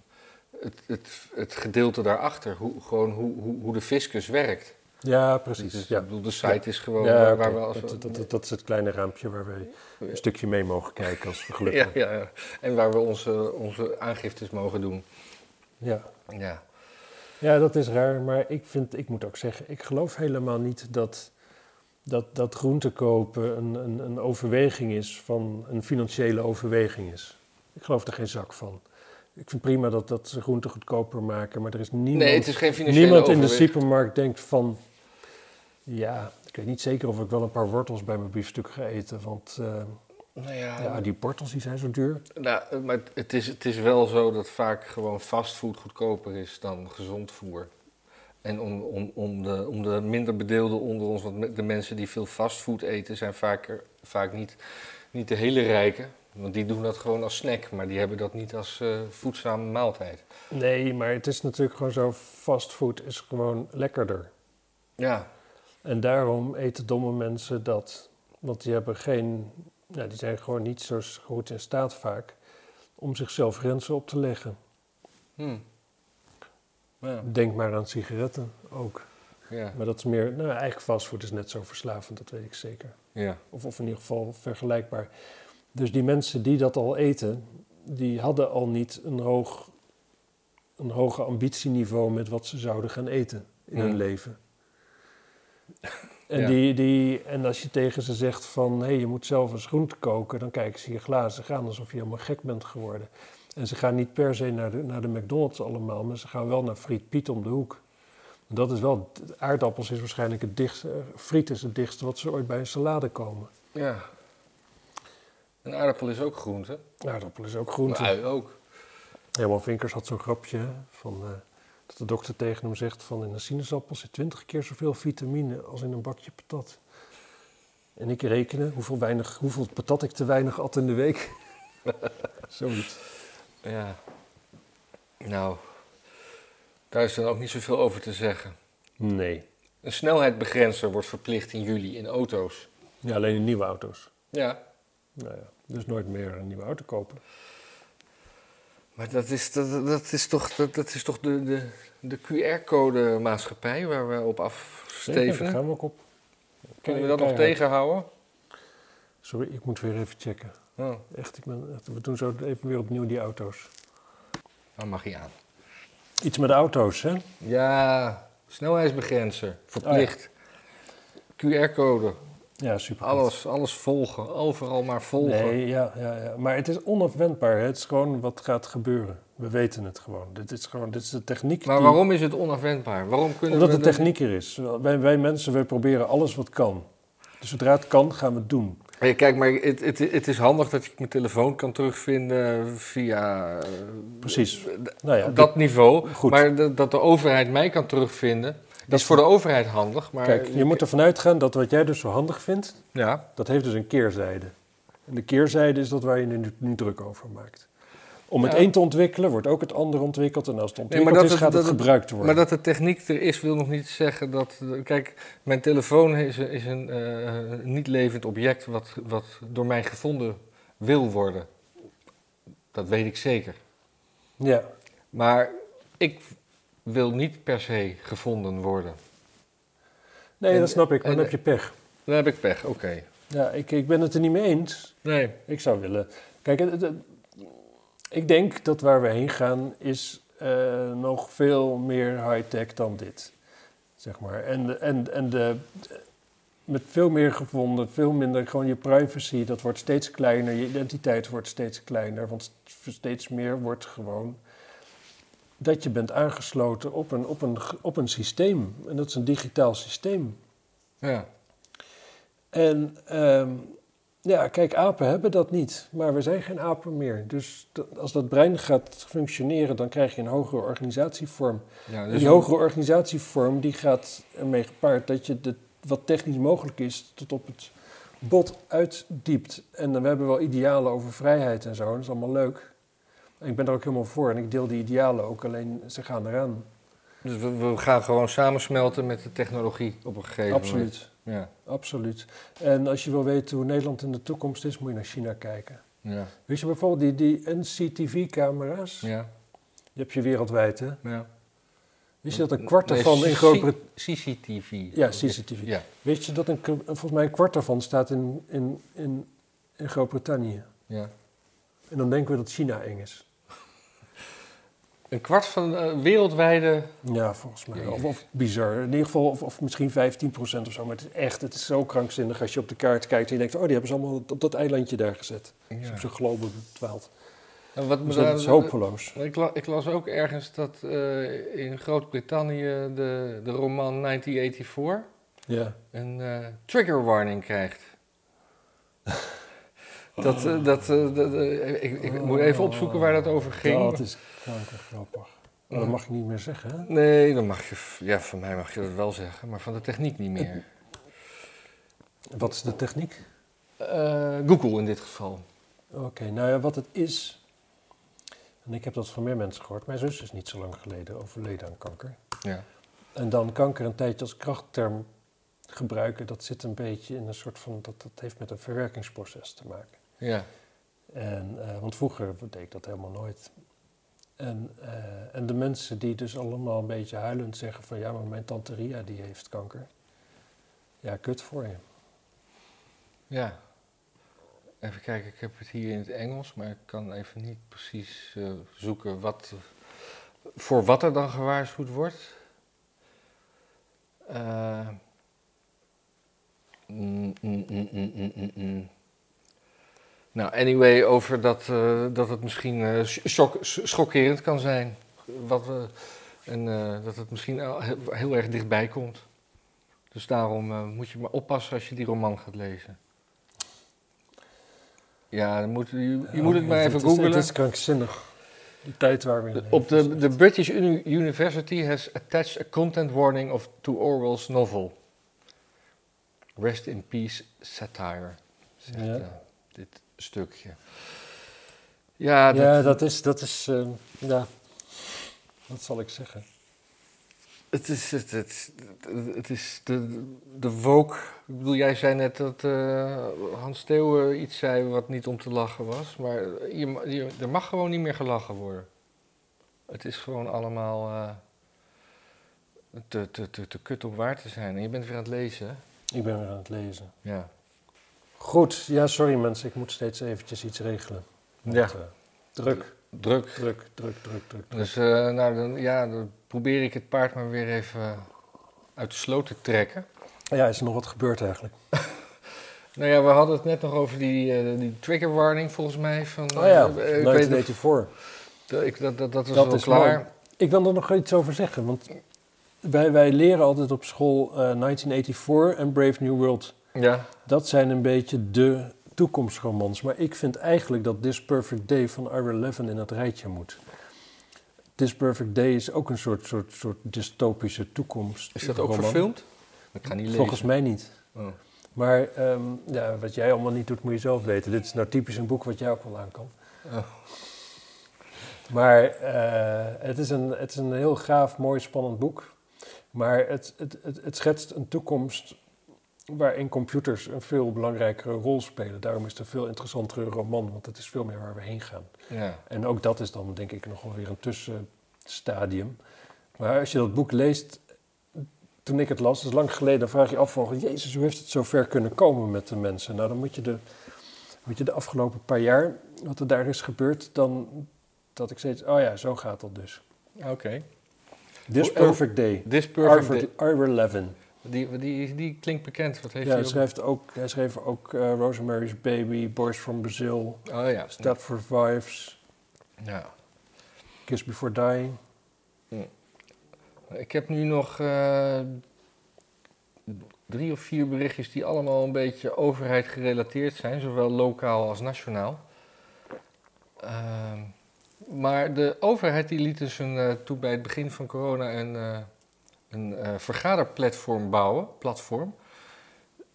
het, het, het gedeelte daarachter. Hoe, gewoon hoe, hoe, hoe de fiscus werkt.
Ja,
Dus,
precies.
Ik
Ja.
bedoel, de site is gewoon
Ja,
waar,
oké.
waar we als...
dat, dat, dat, dat is het kleine raampje waar we een stukje mee mogen kijken als we gelukkig
ja, ja, ja. En waar we onze, onze aangiftes mogen doen.
Ja.
Ja.
Ja, dat is raar, maar ik, vind, ik moet ook zeggen, ik geloof helemaal niet dat, dat, dat groente kopen een, een, een overweging is van een financiële overweging is. Ik geloof er geen zak van. Ik vind prima dat, dat ze groente goedkoper maken, maar er is niemand,
nee, het is geen financiële
niemand in de
overweging.
supermarkt denkt van, ja, ik weet niet zeker of ik wel een paar wortels bij mijn biefstuk ga eten, want eh,
Nou ja,
ja, die wortels die zijn zo duur.
nou, maar het is, het is wel zo dat vaak gewoon fastfood goedkoper is dan gezond voer. En om, om, om, de, om de minder bedeelden onder ons, want me- de mensen die veel fastfood eten zijn vaak, vaak niet, niet de hele rijken. Want die doen dat gewoon als snack, maar die hebben dat niet als eh, voedzame maaltijd.
Nee, maar het is natuurlijk gewoon zo, fastfood is gewoon lekkerder.
Ja,
En daarom eten domme mensen dat. Want die hebben geen. Ja, die zijn gewoon niet zo goed in staat vaak om zichzelf grenzen op te leggen.
hm.
Hmm.
ja.
Denk maar aan sigaretten ook.
ja.
Maar dat is meer. Nou, eigenlijk fastfood is net zo verslavend, dat weet ik zeker.
ja.
Of, of in ieder geval vergelijkbaar. Dus die mensen die dat al eten, die hadden al niet een hoog, een hoge ambitieniveau met wat ze zouden gaan eten in hun
Hmm.
leven. En,
Ja.
die, die, en als je tegen ze zegt van, hé, je moet zelf eens groente koken, dan kijken ze je glazen gaan alsof je helemaal gek bent geworden. En ze gaan niet per se naar de, naar de McDonald's allemaal, maar ze gaan wel naar Friet Piet om de hoek. Dat is wel, aardappels is waarschijnlijk het dichtste, eh, friet is het dichtste wat ze ooit bij een salade komen.
Ja. Een aardappel is ook groente.
Aardappel is ook
Een
groente.
ui ook.
Herman Vinkers had zo'n grapje hè, van, eh, dat de dokter tegen hem zegt van in een sinaasappel zit 20 keer zoveel vitamine als in een bakje patat. En ik rekenen hoeveel, weinig, hoeveel patat ik te weinig at in de week. [LAUGHS] Zoiets.
Ja. Nou, daar is dan ook niet zoveel over te zeggen.
Nee.
Een snelheidbegrenzer wordt verplicht in juli in auto's.
Ja, alleen in nieuwe auto's.
Ja,
Nou ja, dus nooit meer een nieuwe auto kopen.
maar dat is, dat, dat is toch, dat, dat is toch de, de, de QR-code maatschappij waar we op
Zeker, daar
afstevenen?
gaan we ook op.
Kunnen we dat nog
Keihard.
tegenhouden?
Sorry, ik moet weer even checken.
Oh,
Echt, ik ben, echt, we doen zo even weer opnieuw die auto's.
dan mag hij aan.
Iets met auto's, hè?
Ja, snelheidsbegrenzer, verplicht. QR-code,
Ja, super.
alles, alles volgen, overal maar volgen.
Nee, ja, ja, ja. Maar het is onafwendbaar. hè. Het is gewoon wat gaat gebeuren. We weten het gewoon. Dit is, gewoon, dit is de techniek.
Maar
die-
waarom is het onafwendbaar? Waarom kunnen
Omdat
we
de
dat-
techniek er is. Wij, wij mensen, wij proberen alles wat kan. Dus zodra het kan, gaan we het doen.
Hey, kijk, maar het, het, het is handig dat ik mijn telefoon kan terugvinden via eh,
Precies. Nou ja,
dat niveau.
Goed.
Maar dat- dat de overheid mij kan terugvinden, dat is voor de overheid handig. Maar
Kijk, je moet ervan uitgaan dat wat jij dus zo handig vindt,
Ja,
dat heeft dus een keerzijde. En de keerzijde is dat waar je er nu, nu druk over maakt. Om het
Ja.
een te ontwikkelen, wordt ook het ander ontwikkeld. En als het
maar
ontwikkeld
dat
is,
het-
gaat het,
dat het-
gebruikt worden.
maar dat de techniek er is, wil nog niet zeggen dat... Kijk, mijn telefoon is, is een eh, niet levend object wat, wat door mij gevonden wil worden. Dat weet ik zeker.
Ja,
Maar ik wil niet per se gevonden worden.
nee,
En-
dat snap ik. Maar
en-
dan heb je pech.
Dan heb ik pech, oké.
Ja, ik, ik ben het er niet mee eens.
Nee.
Ik zou willen. Kijk, het- het- het- ik denk dat waar we heen gaan is eh, nog veel meer high-tech dan dit. Zeg maar. En, de- en, en de, met veel meer gevonden, veel minder gewoon je privacy, dat wordt steeds kleiner, je identiteit wordt steeds kleiner, want steeds meer wordt gewoon dat je bent aangesloten op een, op een, op een systeem. En dat is een digitaal systeem.
Ja.
En ehm, ja, kijk, apen hebben dat niet, maar we zijn geen apen meer. Dus dat- als dat brein gaat functioneren, dan krijg je een hogere organisatievorm.
ja dus
En die hogere organisatievorm die gaat ermee gepaard dat je de, wat technisch mogelijk is tot op het bot uitdiept. En dan, we hebben wel idealen over vrijheid en zo, en dat is allemaal leuk. En ik ben er ook helemaal voor en ik deel die idealen ook, alleen ze gaan eraan.
Dus we, we gaan gewoon samensmelten met de technologie op een gegeven moment.
Absoluut,
Absoluut.
absoluut. En als je wil weten hoe Nederland in de toekomst is, moet je naar China kijken.
Ja, ja,
Weet je bijvoorbeeld die, die NCTV-camera's?
ja.
Die heb je wereldwijd, hè?
ja.
Wist je dat een kwart daarvan
Nee,
in
C-
Groot-Brittannië...
CCTV.
Ja, CCTV.
Ja.
Weet je dat een, volgens mij een kwart daarvan staat in, in, in, in Groot-Brittannië?
ja.
En dan denken we dat China eng is.
Een kwart van eh, wereldwijde...
Ja, volgens mij.
Jezus.
Of, of bizar. In ieder geval, of, of misschien 15% of zo. Maar het is echt, het is zo krankzinnig als je op de kaart kijkt en je denkt, oh, die hebben ze allemaal op dat eilandje daar gezet. Dus op zo'n globe verdwaald.
En wat me
Dus
daar-
dat is hopeloos.
Ik, la- ik las ook ergens dat eh, in Groot-Brittannië de, de roman 1984
Ja.
een eh, trigger warning [LAUGHS] krijgt. Dat, eh, dat, eh, dat, eh, ik, ik moet even opzoeken waar dat over ging.
Dat is kankergrappig. Maar dat mag ik niet meer zeggen, hè?
Nee, dan mag je. v- Ja, van mij mag je dat wel zeggen, maar van de techniek niet meer.
Wat is de techniek?
Eh, Google in dit geval.
Oké, nou ja, wat het is. En ik heb dat van meer mensen gehoord. Mijn zus is niet zo lang geleden overleden aan kanker.
Ja.
En dan kanker een tijdje als krachtterm gebruiken, dat zit een beetje in een soort van, dat, dat heeft met een verwerkingsproces te maken.
Ja.
En, eh, want vroeger deed ik dat helemaal nooit. En, eh, en de mensen die dus allemaal een beetje huilend zeggen van ja, maar mijn tante Ria die heeft kanker. Ja, kut voor je.
Ja. Even kijken, ik heb het hier in het Engels, maar ik kan even niet precies eh, zoeken wat, voor wat er dan gewaarschuwd wordt. Eh, mm, mm, mm, mm, mm, mm, mm. Nou, anyway, over dat, eh, dat het misschien eh, sch- shock- sch- schokkerend kan zijn. Wat, we- en eh, dat het misschien al he- heel erg dichtbij komt. Dus daarom eh, moet je maar oppassen als je die roman gaat lezen. Ja, dan moet, je, je moet het maar
Ja,
even
Oh, is-
googlen.
Eh, Het is krankzinnig. De tijd waar we in
Op
leven.
de, de British Uni- University has attached a content warning of to Orwell's novel. Rest in peace satire, zegt
Ja.
eh, dit stukje. Ja, dat,
Ja, dat is, dat is, eh, ja, wat zal ik zeggen?
Het, is, het, het, het is de, de woke. Ik bedoel, jij zei net dat eh, Hans Theeuwen iets zei wat niet om te lachen was. Maar je, ma- je, er mag gewoon niet meer gelachen worden. Het is gewoon allemaal eh, te, te, te, te kut om waar te zijn. En je bent weer aan het lezen.
Ik ben weer aan het lezen.
Ja.
Goed, ja, sorry mensen, ik moet steeds eventjes iets regelen. Want,
Ja.
eh, druk,
Druk.
druk, druk, druk, druk.
Dus eh, nou, dan, ja, dan probeer ik het paard maar weer even uit de sloot te trekken.
Ja, is er nog wat gebeurd eigenlijk?
Nou ja, we hadden het net nog over die, eh, die trigger warning volgens mij. Van,
Oh ja,
eh, ik weet niet of-
1984.
Dat, ik- dat, dat, dat was
Dat
wel
is
klaar.
mooi. Ik wil er nog iets over zeggen, want wij, wij leren altijd op school eh, 1984 en Brave New World.
Ja.
Dat zijn een beetje de toekomstromans. Maar ik vind eigenlijk dat This Perfect Day van Ira Levin in het rijtje moet. This Perfect Day is ook een soort, soort, soort dystopische toekomst.
Is dat ook verfilmd? Ik ga niet lezen.
Volgens mij niet.
Oh.
Maar ehm, ja, wat jij allemaal niet doet, moet je zelf weten. Dit is nou typisch een boek wat jij ook wel aan kan.
Oh.
Maar eh, het, is een, het is een heel gaaf, mooi, spannend boek. Maar het, het, het, het schetst een toekomst waarin computers een veel belangrijkere rol spelen. Daarom is het een veel interessantere roman, want het is veel meer waar we heen gaan.
Ja.
En ook dat is dan denk ik nog wel weer een tussenstadium. Maar als je dat boek leest, toen ik het las, dat is lang geleden, dan vraag je je af van, jezus, hoe heeft het zo ver kunnen komen met de mensen? Nou, dan moet je de, moet je de afgelopen paar jaar, wat er daar is gebeurd, dan dat ik steeds, oh ja, zo gaat dat dus.
Oké.
This
Hoe- hoe-
Perfect Day,
This Perfect
Arthur Ira Levin.
Day. Die, die, die klinkt bekend. Wat heeft
Ja, hij,
hij ook?
schrijft ook, hij schreef ook eh, Rosemary's Baby, Boys from Brazil,
Oh ja.
Step for Wives,
ja.
Kiss Before Die.
Ik heb nu nog eh, drie of vier berichtjes die allemaal een beetje overheid gerelateerd zijn. Zowel lokaal als nationaal. Ehm, maar de overheid die liet dus een, eh, toe bij het begin van corona een, eh, een eh, vergaderplatform bouwen. Platform.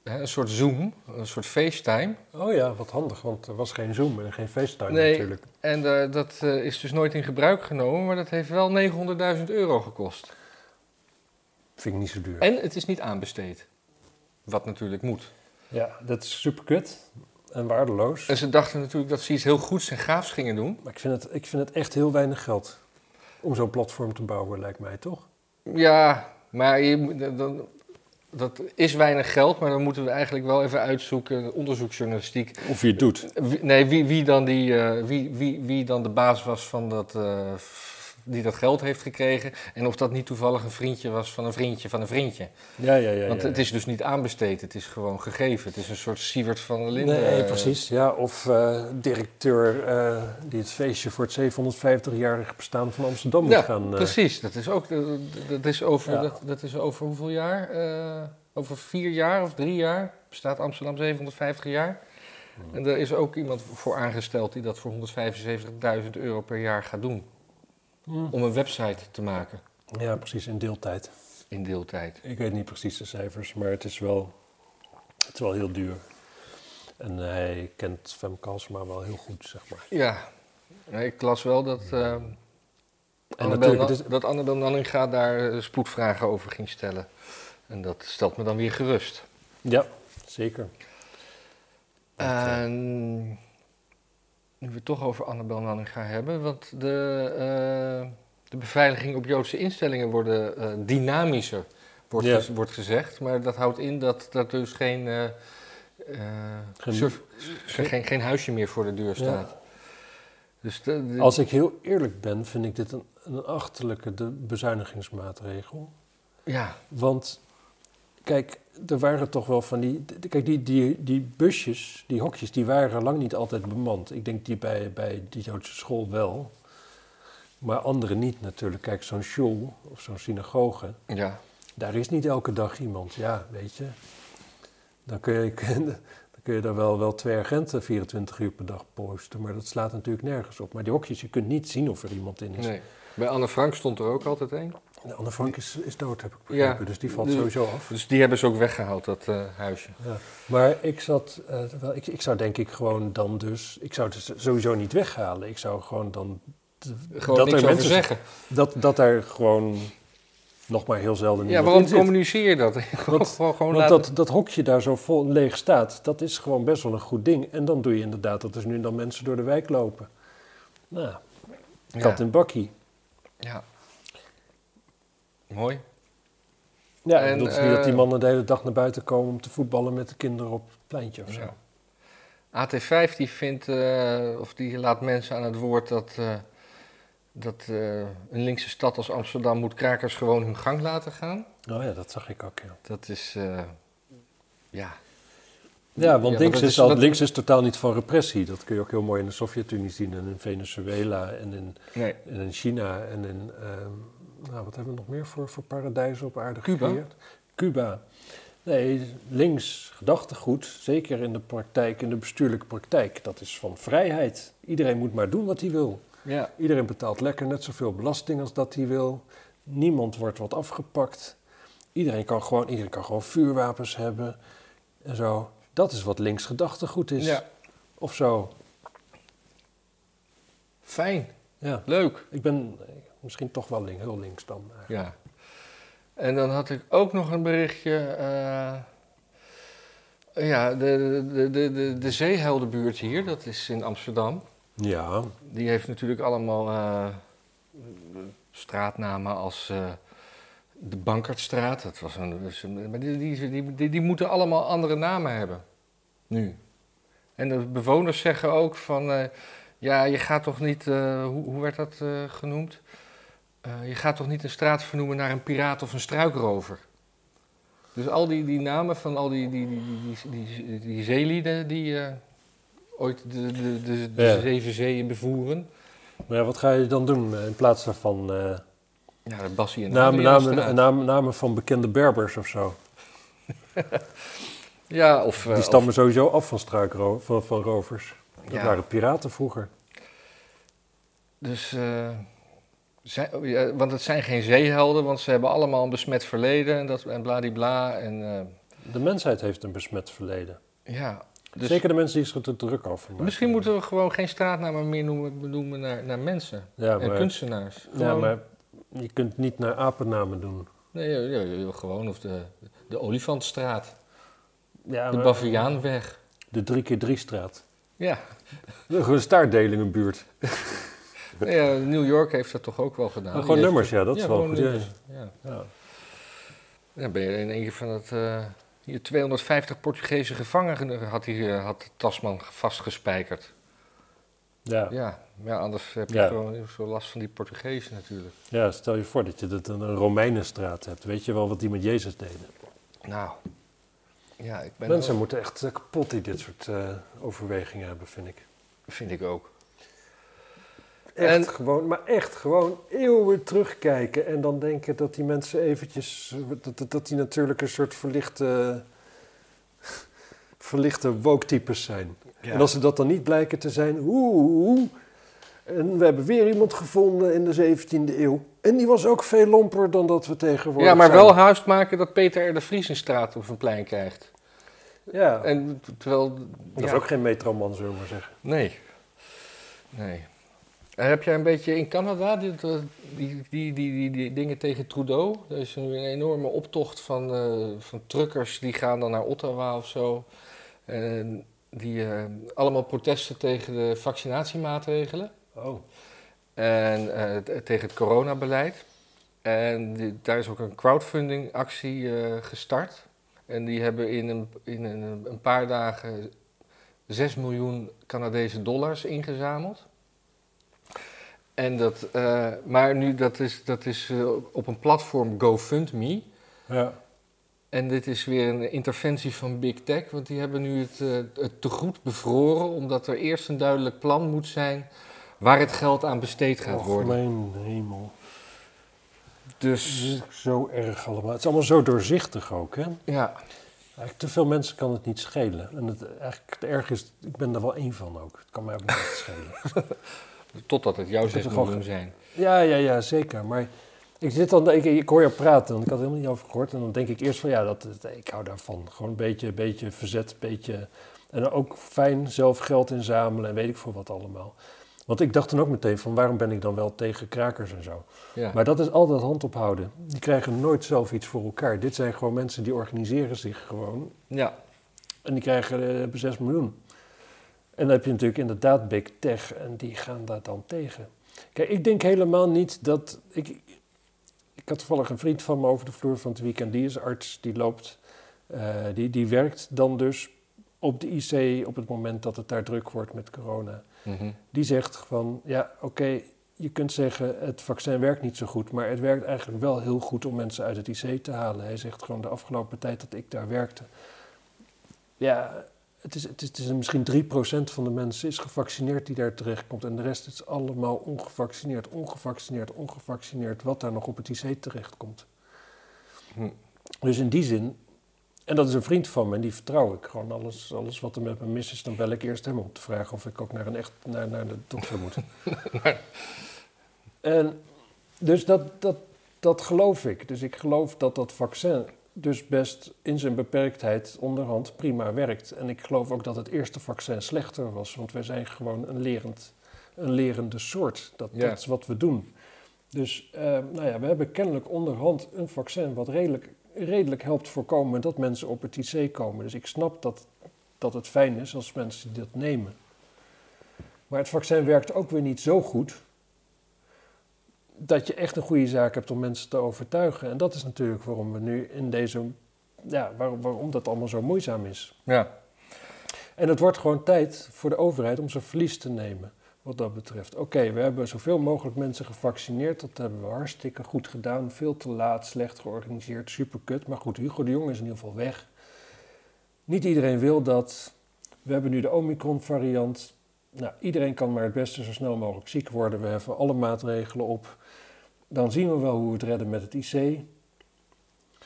Hè, een soort Zoom, een soort FaceTime.
Oh ja, wat handig, want er was geen Zoom en geen FaceTime
Nee.
natuurlijk.
En eh, dat eh, is dus nooit in gebruik genomen, maar dat heeft wel 900.000 euro gekost.
Vind ik niet zo duur.
En het is niet aanbesteed. Wat natuurlijk moet.
Ja, dat is super kut en waardeloos.
En ze dachten natuurlijk dat ze iets heel goeds en gaafs gingen doen.
Maar ik vind, het, ik vind het echt heel weinig geld om zo'n platform te bouwen, lijkt mij toch?
Ja, maar je, moet- dan- dan, dat is weinig geld, maar dan moeten we eigenlijk wel even uitzoeken, onderzoeksjournalistiek.
Of je het doet.
Wie- nee, wie, wie, dan die, eh, wie, wie, wie dan de baas was van dat, eh, f- die dat geld heeft gekregen. En of dat niet toevallig een vriendje was van een vriendje van een vriendje.
Ja, ja, ja.
Want
ja,
het
ja.
is dus niet aanbesteed, het is gewoon gegeven. Het is een soort Sievert van der Linden.
Nee,
eh,
precies. Ja, of eh, directeur eh, die het feestje voor het 750-jarig bestaan van Amsterdam
Ja,
moet gaan... eh,
Precies, dat is ook. dat- Dat is over,
Ja.
dat, dat is over hoeveel jaar? Eh, over vier jaar of drie jaar bestaat Amsterdam 750 jaar. En daar is ook iemand voor aangesteld die dat voor 175.000 euro per jaar gaat doen.
Hm.
Om een website te maken
Ja, precies, in deeltijd.
in deeltijd.
Ik weet niet precies de cijfers, maar het is wel, het is wel heel duur. En hij kent
nou,
Femke Halsema wel heel goed, zeg maar.
Ja, Nee, ik las wel dat eh,
En
ehm, Annabel
natuurlijk,
Na-
het is-
dat Annabel Nanninga daar eh, spoedvragen over ging stellen. En dat stelt me dan weer gerust.
Ja, zeker. Dat, eh,
En nu we het toch over Annabel Nanninga hebben, want de, eh, de beveiliging op Joodse instellingen worden eh, dynamischer, wordt,
Ja.
gez- wordt gezegd. Maar dat houdt in dat er dus geen, eh, eh,
Geen-
surf- geen, geen huisje meer voor de deur staat. Dus de- de-
Als ik heel eerlijk ben, vind ik dit een, een achterlijke de- bezuinigingsmaatregel.
ja,
Want kijk, er waren toch wel van die. d- Kijk, die, die, die busjes, die hokjes, die waren lang niet altijd bemand. Ik denk die bij, bij die Joodse school wel. Maar andere niet natuurlijk. Kijk, zo'n shul of zo'n synagoge,
ja,
daar is niet elke dag iemand. Ja, weet je. Dan kun je, [LAUGHS] dan kun je daar wel, wel twee agenten 24 uur per dag posten. Maar dat slaat natuurlijk nergens op. Maar die hokjes, je kunt niet zien of er iemand in is.
nee. Bij Anne Frank stond er ook altijd een.
De Anne Frank is, is dood, heb ik begrepen. dus die valt
dus-
sowieso af.
Dus die hebben ze ook weggehaald, dat eh, huisje.
Ja, maar ik zat, eh, wel, ik, ik zou denk ik gewoon dan dus, ik zou het dus sowieso niet weghalen. Ik zou gewoon dan, d-
Gewoon
dat
niks
er
over
mensen
zeggen.
dat, dat er gewoon nog maar heel zelden
Ja,
iemand
waarom
in zit.
communiceer je dat? [LAUGHS] Gewoon- gewoon gewoon
Want
laten-
dat, dat hokje daar zo vol leeg staat, dat is gewoon best wel een goed ding. En dan doe je inderdaad dat er nu en dan mensen door de wijk lopen. Nou,
Ja.
kat in bakkie.
Ja. Mooi.
Ja,
En,
ik bedoel, het is niet dat die
eh,
mannen de hele dag naar buiten komen om te voetballen met de kinderen op het pleintje of zo.
Ja. AT5 die vindt, eh, of die laat mensen aan het woord dat, eh, dat eh, een linkse stad als Amsterdam moet krakers gewoon hun gang laten gaan.
Oh ja, dat zag ik ook, ja.
Dat is, eh, ja.
Ja, want
Ja,
links,
dat
is,
is-
al-
dat-
links is totaal niet van repressie. Dat kun je ook heel mooi in de Sovjet-Unie zien en in Venezuela en in,
Nee.
en in China en in... ehm, nou, wat hebben we nog meer voor, voor paradijzen op aarde
Cuba?
gecreëerd? Cuba. Nee, links gedachtegoed, zeker in de praktijk, in de bestuurlijke praktijk, dat is van vrijheid. Iedereen moet maar doen wat hij wil.
Ja.
Iedereen betaalt lekker net zoveel belasting als dat hij wil. Niemand wordt wat afgepakt. Iedereen kan gewoon, iedereen kan gewoon vuurwapens hebben en zo. Dat is wat links gedachtegoed is.
ja.
Of zo.
Fijn.
Ja.
Leuk.
Ik ben eh, misschien toch wel link, heel links dan. eigenlijk.
Ja. En dan had ik ook nog een berichtje. eh, ja, de, de, de, de, de zeeheldenbuurt hier, dat is in Amsterdam.
Ja.
Die heeft natuurlijk allemaal eh, straatnamen als eh, de Bankertstraat. Dat was een, dat is een- maar die, die, die, die, die moeten allemaal andere namen hebben. Nu. En de bewoners zeggen ook van... eh, ja, je gaat toch niet... eh, hoe, hoe werd dat eh, genoemd? Eh, je gaat toch niet een straat vernoemen naar een piraat of een struikrover? Dus al die, die namen van al die, die, die, die, die, die, die zeelieden die eh, ooit de, de, de, de
Ja.
zeven zeeën bevoeren...
Maar ja, wat ga je dan doen eh, in plaats daarvan? eh,
Ja, dat Bassie en
namen,
Adriaan
namen, eh,
straat.
namen, namen van bekende Berbers of zo.
Ja, Eh, of... eh,
Die stammen sowieso af van, struikro- van, van rovers.
of-
Dat
ja,
waren piraten vroeger.
Dus... eh, zij- oh, ja, want het zijn geen zeehelden, want ze hebben allemaal een besmet verleden en, dat, en bladibla. En, eh,
De mensheid heeft een besmet verleden.
ja, dus
Zeker de mensen die zich er druk over maken.
misschien moeten we gewoon geen straatnamen meer noemen, benoemen naar, naar mensen
Ja,
en
maar,
kunstenaars.
ja,
eh, Gewoon-
maar je kunt niet naar apennamen doen.
Nee, ja, ja, ja, gewoon of de, de Olifantstraat,
Ja,
de Baviaanweg.
de 3 keer 3 straat.
Ja,
[LAUGHS] Gewoon staartdelingenbuurt.
Nou ja, New York heeft dat toch ook wel gedaan.
Maar gewoon
Die heeft-
nummers, ja, dat is wel
gewoon
goed. ja.
nummers, ja.
Ja.
Dan ben je in één keer van dat... eh, hier 250 Portugese gevangenen had, die, eh, had Tasman vastgespijkerd.
Ja.
Ja, ja anders heb je
Ja.
gewoon heel veel last van die Portugezen natuurlijk.
Ja, stel je voor dat je dat een een Romeinenstraat hebt. Weet je wel wat die met Jezus deden?
Nou, ja, ik ben
Mensen
wel-
moeten echt eh, kapot die dit soort eh, overwegingen hebben, vind ik.
vind ik ook.
Echt
En-
gewoon, maar echt gewoon eeuwen terugkijken en dan denken dat die mensen eventjes, dat, dat, dat die natuurlijk een soort verlichte, [LAUGHS] verlichte woke-types zijn. En als ze dat dan niet blijken te zijn, oeh, oeh. En we hebben weer iemand gevonden in de 17e eeuw. En die was ook veel lomper dan dat we tegenwoordig
ja, maar
zijn.
wel huis maken dat Peter R. de Vries een straat of een plein krijgt.
Ja,
En t- terwijl...
dat is
ja.
ook geen metroman, zullen we maar zeggen.
Nee. Nee. En heb jij een beetje in Canada die, die, die, die, die, die dingen tegen Trudeau? Er is nu een enorme optocht van, eh, van truckers die gaan dan naar Ottawa of zo. En die eh, allemaal protesten tegen de vaccinatiemaatregelen.
Oh.
En eh, t- tegen het coronabeleid. En die- daar is ook een crowdfunding actie eh, gestart. En die hebben in een, in een, een paar dagen 6 miljoen Canadese dollars ingezameld. En dat, eh, maar nu, dat is, dat is eh, op een platform GoFundMe.
Ja.
En dit is weer een interventie van Big Tech, want die hebben nu het, eh, het tegoed bevroren, omdat er eerst een duidelijk plan moet zijn waar het geld aan besteed gaat
Och,
worden.
mijn hemel. Het
Dus
is zo erg allemaal. Het is allemaal zo doorzichtig ook, hè?
ja,
Eigenlijk te veel mensen kan het niet schelen. En het, eigenlijk het erg is, ik ben er wel één van ook. Het kan mij ook niet schelen.
totdat het jouw
is
6
gewoon
miljoen zijn.
Ja, ja, ja, zeker. Maar ik, zit dan, ik, ik hoor jou praten, want ik had er helemaal niet over gehoord. En dan denk ik eerst van, ja, dat, dat- ik hou daarvan. Gewoon een beetje, beetje verzet, een beetje... En ook fijn zelf geld inzamelen en weet ik veel wat allemaal. Want ik dacht dan ook meteen van, waarom ben ik dan wel tegen krakers en zo?
Ja.
Maar dat is altijd hand ophouden. Die krijgen nooit zelf iets voor elkaar. Dit zijn gewoon mensen die organiseren zich gewoon.
ja,
En die krijgen, eh, hebben 6 miljoen. En dan heb je natuurlijk inderdaad big tech en die gaan daar dan tegen. Kijk, ik denk helemaal niet dat... Ik, ik had toevallig een vriend van me over de vloer van het weekend. Die is arts, die loopt, eh, die, die werkt dan dus op de IC op het moment dat het daar druk wordt met corona
mhm.
die zegt van ja, oké, je kunt zeggen het vaccin werkt niet zo goed, maar het werkt eigenlijk wel heel goed om mensen uit het IC te halen. Hij zegt gewoon de afgelopen tijd dat ik daar werkte. Ja, het is, het is, het is misschien 3% van de mensen is gevaccineerd die daar terechtkomt en de rest is allemaal ongevaccineerd, ongevaccineerd, ongevaccineerd, wat daar nog op het IC terechtkomt.
Hm.
Dus in die zin, en dat is een vriend van me en die vertrouw ik. Gewoon alles, alles wat er met me mis is, dan bel ik eerst hem om te vragen of ik ook naar, een echt, naar, naar de dokter moet. en dus dat, dat, dat geloof ik. Dus ik geloof dat dat vaccin dus best in zijn beperktheid onderhand prima werkt. En ik geloof ook dat het eerste vaccin slechter was, want wij zijn gewoon een, lerend, een lerende soort. Dat,
Ja.
dat is wat we doen. Dus eh, nou ja, we hebben kennelijk onderhand een vaccin wat redelijk, redelijk helpt voorkomen dat mensen op het IC komen. Dus ik snap dat, dat het fijn is als mensen dat nemen. Maar het vaccin werkt ook weer niet zo goed dat je echt een goede zaak hebt om mensen te overtuigen. En dat is natuurlijk waarom we nu in deze. Ja, waarom, waarom dat allemaal zo moeizaam is.
ja,
En het wordt gewoon tijd voor de overheid om zijn verlies te nemen. Wat dat betreft. Oké, we hebben zoveel mogelijk mensen gevaccineerd. Dat hebben we hartstikke goed gedaan. Veel te laat, slecht georganiseerd, super kut. Maar goed, Hugo de Jong is in ieder geval weg. Niet iedereen wil dat. We hebben nu de Omicron-variant. Nou, iedereen kan maar het beste zo snel mogelijk ziek worden. We heffen alle maatregelen op. Dan zien we wel hoe we het redden met het IC.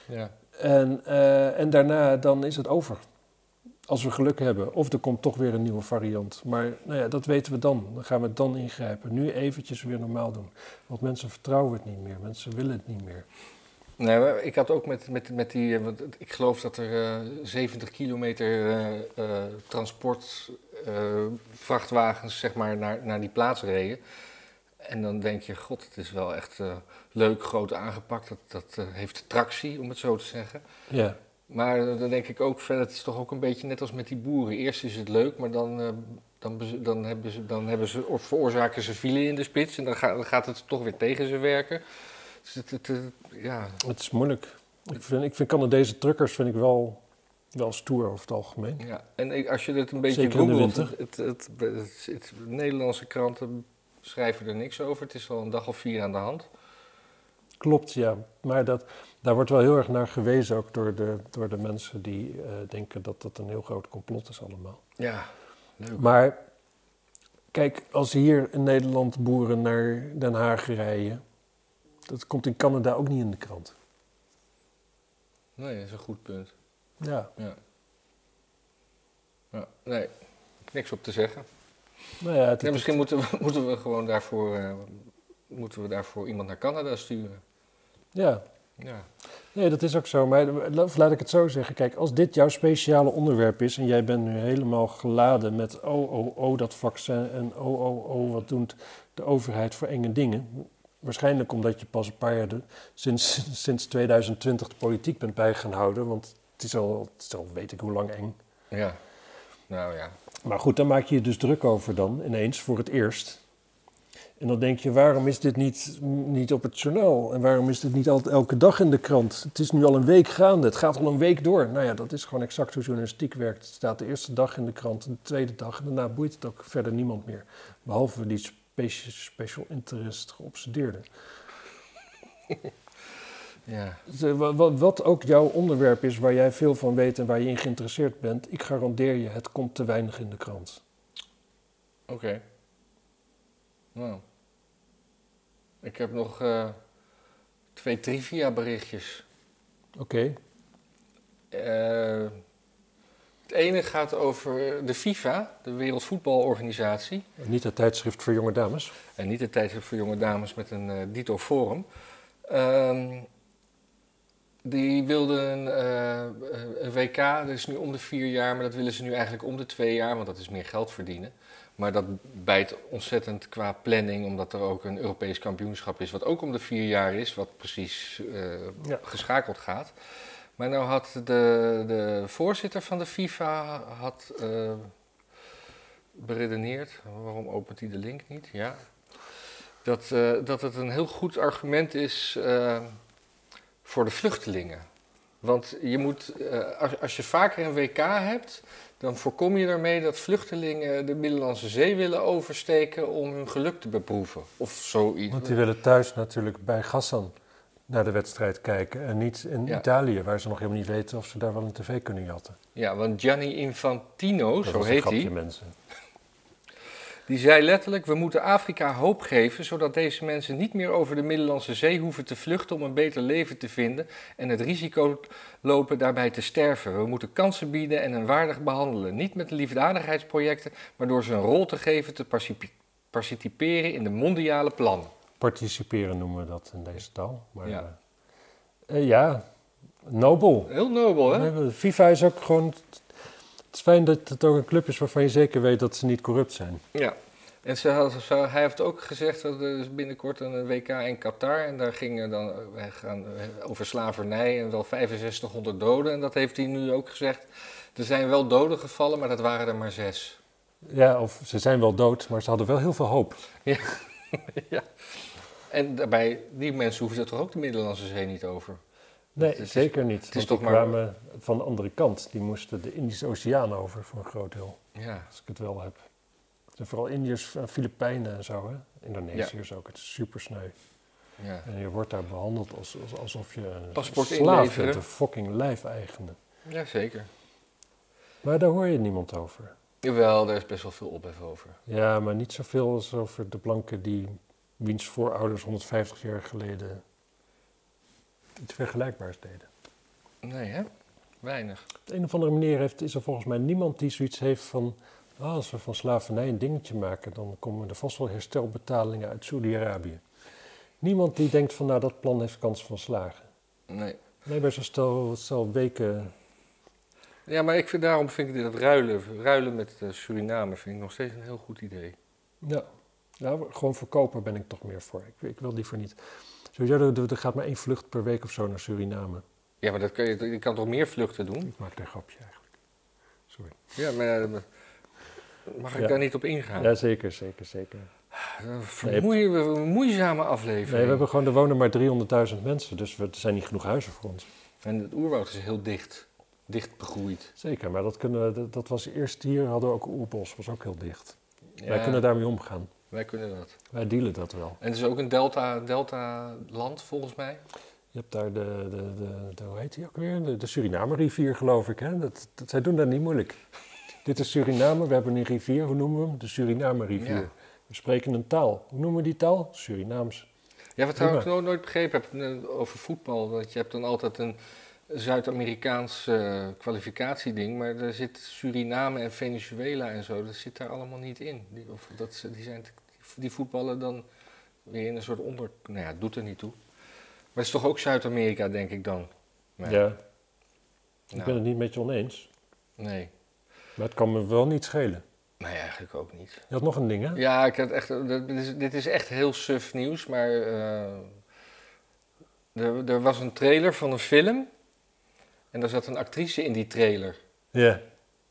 ja.
En, eh, en daarna dan is het over. Als we geluk hebben. Of er komt toch weer een nieuwe variant. Maar nou ja, dat weten we dan. Dan gaan we dan ingrijpen. Nu eventjes weer normaal doen. Want mensen vertrouwen het niet meer. Mensen willen het niet meer.
Nee, maar ik had ook met, met, met die, eh, want het- ik geloof dat er eh, 70 kilometer eh, eh, transport eh, vrachtwagens zeg maar, naar, naar die plaats reden. En dan denk je, god, het is wel echt eh, leuk, groot aangepakt. Dat, dat eh, heeft tractie, om het zo te zeggen.
Ja,
Maar eh, dan denk ik ook verder, het is toch ook een beetje net als met die boeren. Eerst is het leuk, maar dan, eh, dan, bez- dan, hebben, ze, dan hebben ze, of veroorzaken ze file in de spits. En dan, ga- dan gaat het toch weer tegen ze werken. Dus het, het, het- ja,
het is moeilijk. Ik vind, ik vind Canadese truckers vind ik wel, wel stoer over het algemeen.
Ja, en ik- als je het een beetje
Zeker in de
googelt, het,
winter.
het, het, het- het- Nederlandse kranten schrijven er niks over. Het is al een dag of vier aan de hand.
Klopt, ja. Maar dat, daar wordt wel heel erg naar gewezen. Ook door de, door de mensen die eh, denken dat dat een heel groot complot is allemaal.
Ja, leuk.
Maar kijk, als hier in Nederland boeren naar Den Haag rijden, dat komt in Canada ook niet in de krant.
Nee, dat is een goed punt.
Ja,
Ja. Ja, nee, niks op te zeggen.
nou ja, het,
Ja, misschien moeten we, [LAUGHS] moeten we gewoon daarvoor, eh, moeten we daarvoor iemand naar Canada sturen.
ja.
Ja.
Nee, dat is ook zo. Maar la- of laat ik het zo zeggen. Kijk, als dit jouw speciale onderwerp is en jij bent nu helemaal geladen met oh, oh, oh, dat vaccin en oh, oh, oh, wat doet, de overheid voor enge dingen. Waarschijnlijk omdat je pas een paar jaar de- sinds, sinds 2020 de politiek bent bij gaan houden. Want het is, al, het is al weet ik hoe lang eng.
Ja. Nou ja.
Maar goed, daar maak je je dus druk over dan, ineens, voor het eerst. En dan denk je, waarom is dit niet, niet op het journaal? En waarom is dit niet altijd elke dag in de krant? Het is nu al een week gaande, het gaat al een week door. Nou ja, dat is gewoon exact hoe journalistiek werkt. Het staat de eerste dag in de krant, de tweede dag... en daarna boeit het ook verder niemand meer. Behalve die spe- special interest geobsedeerden.
Ja.
Ze- wa- wa- Wat ook jouw onderwerp is waar jij veel van weet en waar je in geïnteresseerd bent... ik garandeer je, het komt te weinig in de krant.
Oké. Nou. Ik heb nog eh, twee trivia berichtjes.
Oké,
Eh, het ene gaat over de FIFA, de Wereldvoetbalorganisatie.
niet het tijdschrift voor jonge dames...
En niet de tijdschrift voor jonge dames met een eh, dito forum. Ehm, die wilden een, eh, een WK, dat is nu om de vier jaar, maar dat willen ze nu eigenlijk om de twee jaar, want dat is meer geld verdienen. Maar dat bijt ontzettend qua planning, omdat er ook een Europees kampioenschap is, wat ook om de vier jaar is, wat precies eh,
Ja.
geschakeld gaat. Maar nou had de, de voorzitter van de FIFA had, eh, beredeneerd, waarom opent hij de link niet? Ja. Dat, eh, dat het een heel goed argument is eh, voor de vluchtelingen. Want je moet, eh, als, als je vaker een WK hebt, dan voorkom je daarmee dat vluchtelingen de Middellandse Zee willen oversteken om hun geluk te beproeven. Of zoiets.
Want die willen thuis natuurlijk bij Gassan naar de wedstrijd kijken. En niet in
Ja.
Italië, waar ze nog helemaal niet weten of ze daar wel een tv kunnen jatten.
Ja, want Gianni Infantino,
Dat
zo
was een
heet
grapje,
hij,
mensen.
die zei letterlijk: We moeten Afrika hoop geven, zodat deze mensen niet meer over de Middellandse Zee hoeven te vluchten om een beter leven te vinden en het risico lopen daarbij te sterven. We moeten kansen bieden en hen waardig behandelen. Niet met liefdadigheidsprojecten, maar door ze een rol te geven te particip- participeren in de mondiale plannen.
Participeren noemen we dat in deze taal. Maar, eh, eh,
Ja.
ja. nobel.
Heel nobel, hè?
Nee, maar FIFA is ook gewoon... Het is fijn dat het ook een club is waarvan je zeker weet dat ze niet corrupt zijn.
Ja. En ze had, ze- hij heeft ook gezegd dat er is binnenkort een WK in Qatar. En daar gingen dan eh, wij gaan eh, over slavernij en wel 6500 doden. En dat heeft hij nu ook gezegd. Er zijn wel doden gevallen, maar dat waren er maar zes.
Ja, of ze zijn wel dood, maar ze hadden wel heel veel hoop.
ja. En daarbij, die mensen hoeven er toch ook de Middellandse Zee niet over?
Nee,
Het is-
zeker niet. Het
is
die
toch maar-
kwamen van de andere kant. Die moesten de Indische Oceaan over voor een groot deel.
Ja.
Als ik het wel heb. Het zijn vooral Indiërs, eh, Filipijnen en zo, hè? Indonesiërs ook. Het is super sneu.
ja.
En je wordt daar behandeld als, als, alsof je een
Paspoort
slaaf
inleveren.
bent, een fucking lijfeigene.
Jazeker.
Maar daar hoor je niemand over.
Jawel, daar is best wel veel ophef over.
Ja, maar niet zoveel als over de blanken die wiens voorouders 150 jaar geleden iets vergelijkbaars deden.
Nee, hè? Weinig.
Op de een of andere manier heeft, is er volgens mij niemand die zoiets heeft van... "Ah, als we van slavernij een dingetje maken, dan komen er vast wel herstelbetalingen uit Saudi-Arabië. Niemand die denkt van, nou, dat plan heeft kans van slagen.
Nee.
Nee, bij zo'n stel, stel weken...
Ja, maar ik vind, daarom vind ik dat ruilen, ruilen met eh, Suriname vind ik nog steeds een heel goed idee.
Ja, nou, gewoon verkoper ben ik toch meer voor. Ik, ik wil liever niet... Sowieso, er- er, er gaat maar één vlucht per week of zo naar Suriname.
Ja, maar dat kan je, je kan toch meer vluchten doen?
Ik maak daar een grapje eigenlijk. Sorry.
Ja, maar eh, mag ik
Ja.
daar niet op ingaan? Ah,
Ja, zeker, zeker, zeker.
Een vermoeie- een moeizame aflevering.
Nee, we hebben gewoon, er wonen maar 300.000 mensen, dus we, er zijn niet genoeg huizen voor ons.
En het oerwoud is heel dicht, dicht begroeid.
Zeker, maar dat, kunnen, we- dat, dat was eerst hier, hadden we ook oerbos, was ook heel dicht. Wij
Ja,
kunnen daarmee omgaan.
wij kunnen dat.
Wij dealen dat wel.
En het is ook een delta, delta land volgens mij.
Je hebt daar de, de, de, de- hoe heet die ook weer? De, de Suriname-rivier, geloof ik. Hè? Dat, dat, zij doen daar niet moeilijk. Dit is Suriname, we hebben een rivier, hoe noemen we hem? De Suriname-rivier.
Ja.
We spreken een taal. Hoe noemen we die taal? Surinaams.
Ja, wat trouwens nooit, nooit begrepen heb eh, over voetbal, dat je hebt dan altijd een Zuid-Amerikaans eh, kwalificatieding, maar daar zit Suriname en Venezuela en zo, dat zit daar allemaal niet in. Die, of dat, ze- die, zijn, die voetballen dan weer in een soort onder... Nou ja, het doet er niet toe. Maar het is toch ook Zuid-Amerika, denk ik dan? Nee.
Ja, ik
Nou,
ben het niet met je oneens,
Nee.
maar het kan me wel niet schelen.
Nee, eigenlijk ook niet.
Je had nog een ding, hè?
Ja, ik had echt, dat- dit, is, dit is echt heel suf nieuws, maar eh, er, er was een trailer van een film en daar zat een actrice in die trailer.
Ja.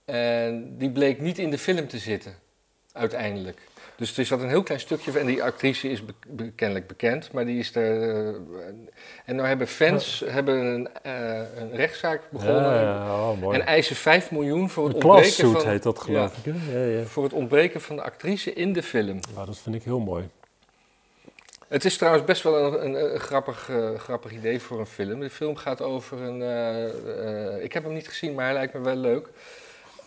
En die bleek niet in de film te zitten, uiteindelijk. Dus er zat een heel klein stukje van, en die actrice is be- be- kennelijk bekend, maar die is er... eh, en nou hebben fans hebben een, eh, een rechtszaak begonnen
Ja, ja, oh, mooi.
en eisen 5 miljoen voor het,
Een
ontbreken
classsuit
van,
heet dat, geloof ik. Hè? Ja, ja.
voor het ontbreken van de actrice in de film.
Nou, dat vind ik heel mooi.
Het is trouwens best wel een, een, een grappig, eh, grappig idee voor een film. De film gaat over een. eh, eh, ik heb hem niet gezien, maar hij lijkt me wel leuk.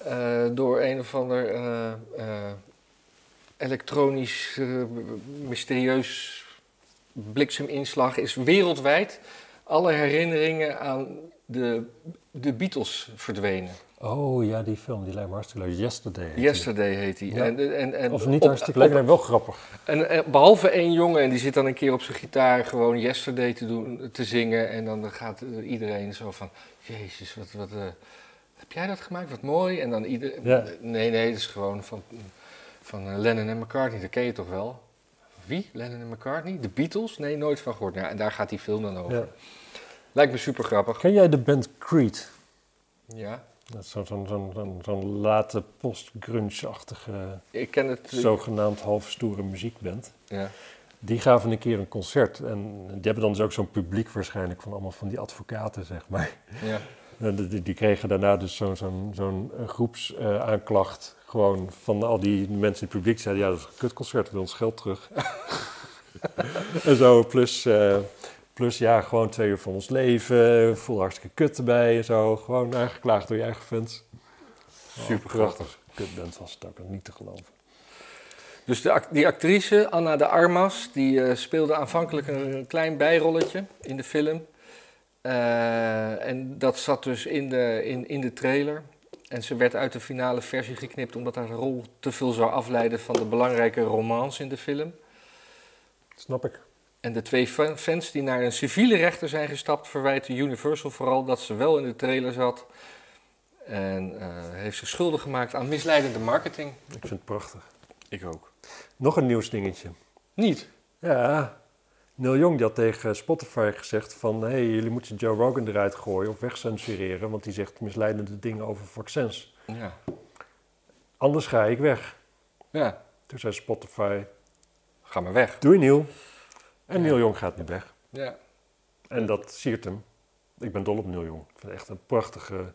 Eh, door een of ander eh, eh, elektronisch, eh, mysterieus blikseminslag is wereldwijd alle herinneringen aan de, de Beatles verdwenen.
Oh ja, die film, die lijkt me hartstikke leuk. Yesterday. heet die.
Yesterday heet hij.
Ja.
En, en, en,
Of niet
op-
hartstikke leuk, maar wel grappig.
En, eh, behalve één jongen, en die zit dan een keer op zijn gitaar gewoon yesterday te, doen, te zingen. En dan gaat eh, iedereen zo van, jezus, wat, wat eh, heb jij dat gemaakt? Wat mooi. En dan ieder,
Ja.
nee, nee, dat is gewoon van, van eh, Lennon en McCartney, dat ken je toch wel? Wie? Lennon en McCartney? De Beatles? Nee, nooit van gehoord. Nou, en daar gaat die film dan over.
Ja.
Lijkt me super grappig.
Ken jij de band Creed?
Ja,
Dat is zo'n zo'n zo'n zo'n- zo'n late post-grunge-achtige,
ik ken het. eh,
zogenaamd half stoere muziekband.
Ja.
Die gaven een keer een concert. En die hebben dan dus ook zo'n publiek waarschijnlijk van allemaal van die advocaten, zeg maar.
Ja.
En Eh, Die, die- die kregen daarna dus zo'n zo'n zo'n eh, groepsaanklacht. gewoon van al die mensen in het publiek. Die zeiden, ja, dat is een kutconcert, we willen ons geld terug. [LAUGHS] en zo, plus, eh, plus ja, gewoon twee uur van ons leven. Voel hartstikke kut erbij en zo. Gewoon aangeklaagd door je eigen fans. Oh,
Super
prachtig. Kutband was het ook, dat niet te geloven.
Dus de, act- die actrice, Anna de Armas, die eh, speelde aanvankelijk een, een klein bijrolletje in de film. Eh, en dat zat dus in de, in, in de trailer. En ze werd uit de finale versie geknipt omdat haar rol te veel zou afleiden van de belangrijke romance in de film.
Snap ik.
En de twee fa- fans die naar een civiele rechter zijn gestapt, verwijten Universal vooral dat ze wel in de trailer zat. En eh, heeft zich schuldig gemaakt aan misleidende marketing.
Ik vind het prachtig.
Ik ook.
Nog een nieuwsdingetje.
Niet.
Ja, Neil Young die had tegen Spotify gezegd van... hé, hey, jullie moeten Joe Rogan eruit gooien of wegcensureren... want die zegt misleidende dingen over vaccins.
Ja.
Anders ga ik weg.
Ja.
Toen zei Spotify,
Ga maar weg.
doei Neil. En
Ja.
Neil Young gaat nu weg.
Ja.
En dat siert hem. Ik ben dol op Neil Young. Ik vind het echt een prachtige,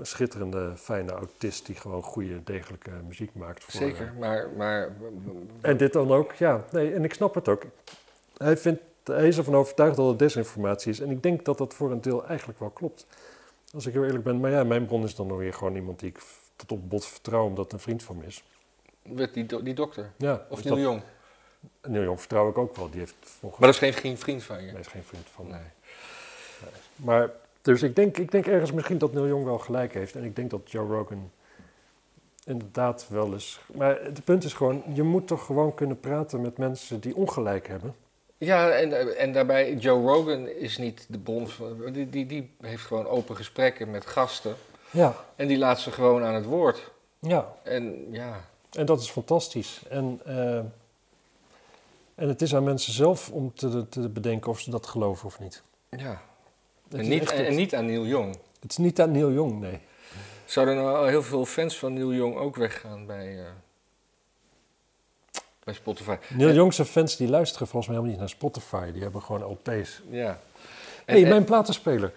schitterende, fijne autist... die gewoon goede, degelijke muziek maakt. Voor,
Zeker, maar, maar
En dit dan ook, ja. Nee, en ik snap het ook. Hij, vindt, hij is ervan overtuigd dat het desinformatie is. En ik denk dat dat voor een deel eigenlijk wel klopt. Als ik heel eerlijk ben. Maar ja, mijn bron is dan nog weer gewoon iemand die ik v- tot op bot vertrouw, omdat het een vriend van me is.
werd die, do- die dokter
Ja,
of
dus
Neil Jong.
dat, Neil Young vertrouw ik ook wel. Die heeft volgens
Maar dat is geen, geen vriend van je.
mij is geen vriend van me.
Nee.
Maar, dus ik denk, ik denk ergens misschien dat Neil Young wel gelijk heeft. En ik denk dat Joe Rogan inderdaad wel eens... Maar het punt is gewoon, je moet toch gewoon kunnen praten met mensen die ongelijk hebben.
Ja, en, en daarbij, Joe Rogan is niet de bron van... Die, die, die heeft gewoon open gesprekken met gasten.
Ja,
En die laat ze gewoon aan het woord.
ja.
En ja,
En dat is fantastisch. En, eh, en het is aan mensen zelf om te, te bedenken of ze dat geloven of niet.
ja.
Het
En
is
niet,
echt
en,
het,
en niet aan Neil Jong.
het is niet aan Neil Young, nee.
Zouden nou al heel veel fans van Neil Jong ook weggaan bij, eh, bij Spotify?
Neil Young zijn fans die luisteren volgens mij helemaal niet naar Spotify. Die hebben gewoon LP's.
Ja.
Hé, hey, mijn platenspeler.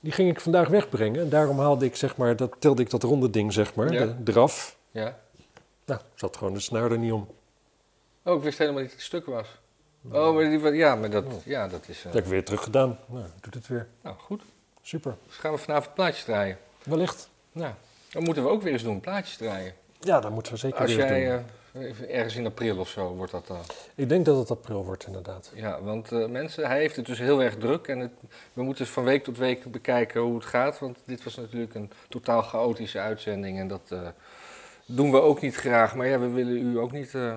Die ging ik vandaag wegbrengen. En daarom haalde ik, zeg maar, dat, tilde ik dat ronde ding, zeg maar,
Ja.
de, eraf.
Ja?
Nou, zat gewoon de snaar er niet om.
Oh, ik wist helemaal niet dat het stuk was. Oh, maar die, ja, maar
Oh.
dat, ja, dat is... eh,
Dat heb ik weer terug gedaan. Nou, doet het weer.
Nou, goed.
Super.
Dus gaan we vanavond plaatjes draaien.
Wellicht.
Nou, dan moeten we ook weer eens doen, plaatjes draaien.
Ja, dat moeten we zeker
Als
weer
jij
doen.
eh, even ergens in april of zo wordt dat dan.
Ik denk dat het april wordt, inderdaad.
Ja, want eh, mensen, hij heeft het dus heel erg druk en het, we moeten van week tot week bekijken hoe het gaat. Want dit was natuurlijk een totaal chaotische uitzending en dat eh, doen we ook niet graag. Maar ja, we willen u ook niet eh,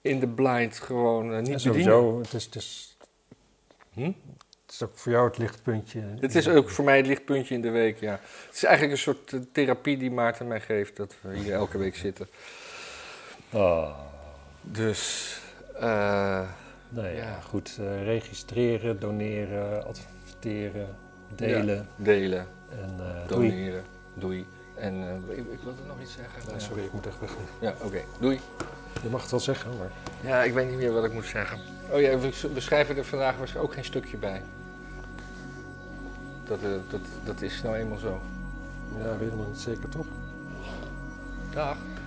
in de blind gewoon eh,
En
niet
sowieso,
bedienen.
het is, het is
Hm?
Het is ook voor jou het lichtpuntje.
Dit is ook voor mij het lichtpuntje in de week, ja. Het is eigenlijk een soort eh, therapie die Maarten mij geeft, dat we hier elke week zitten.
Oh,
Dus, eh,
Nou ja,
Ja.
goed. eh, registreren, doneren, adverteren, delen.
delen,
En eh, doei.
doneren, doei. En eh, ik, ik wilde nog iets zeggen.
Ja, sorry, ik moet echt weg.
Ja, oké, doei.
Je mag het wel zeggen, maar...
Ja, ik weet niet meer wat ik moet zeggen. Oh ja, we, we schrijven er vandaag waarschijnlijk ook geen stukje bij. Dat, eh, dat, dat is nou eenmaal zo.
Ja, weet helemaal niet zeker, toch?
Dag.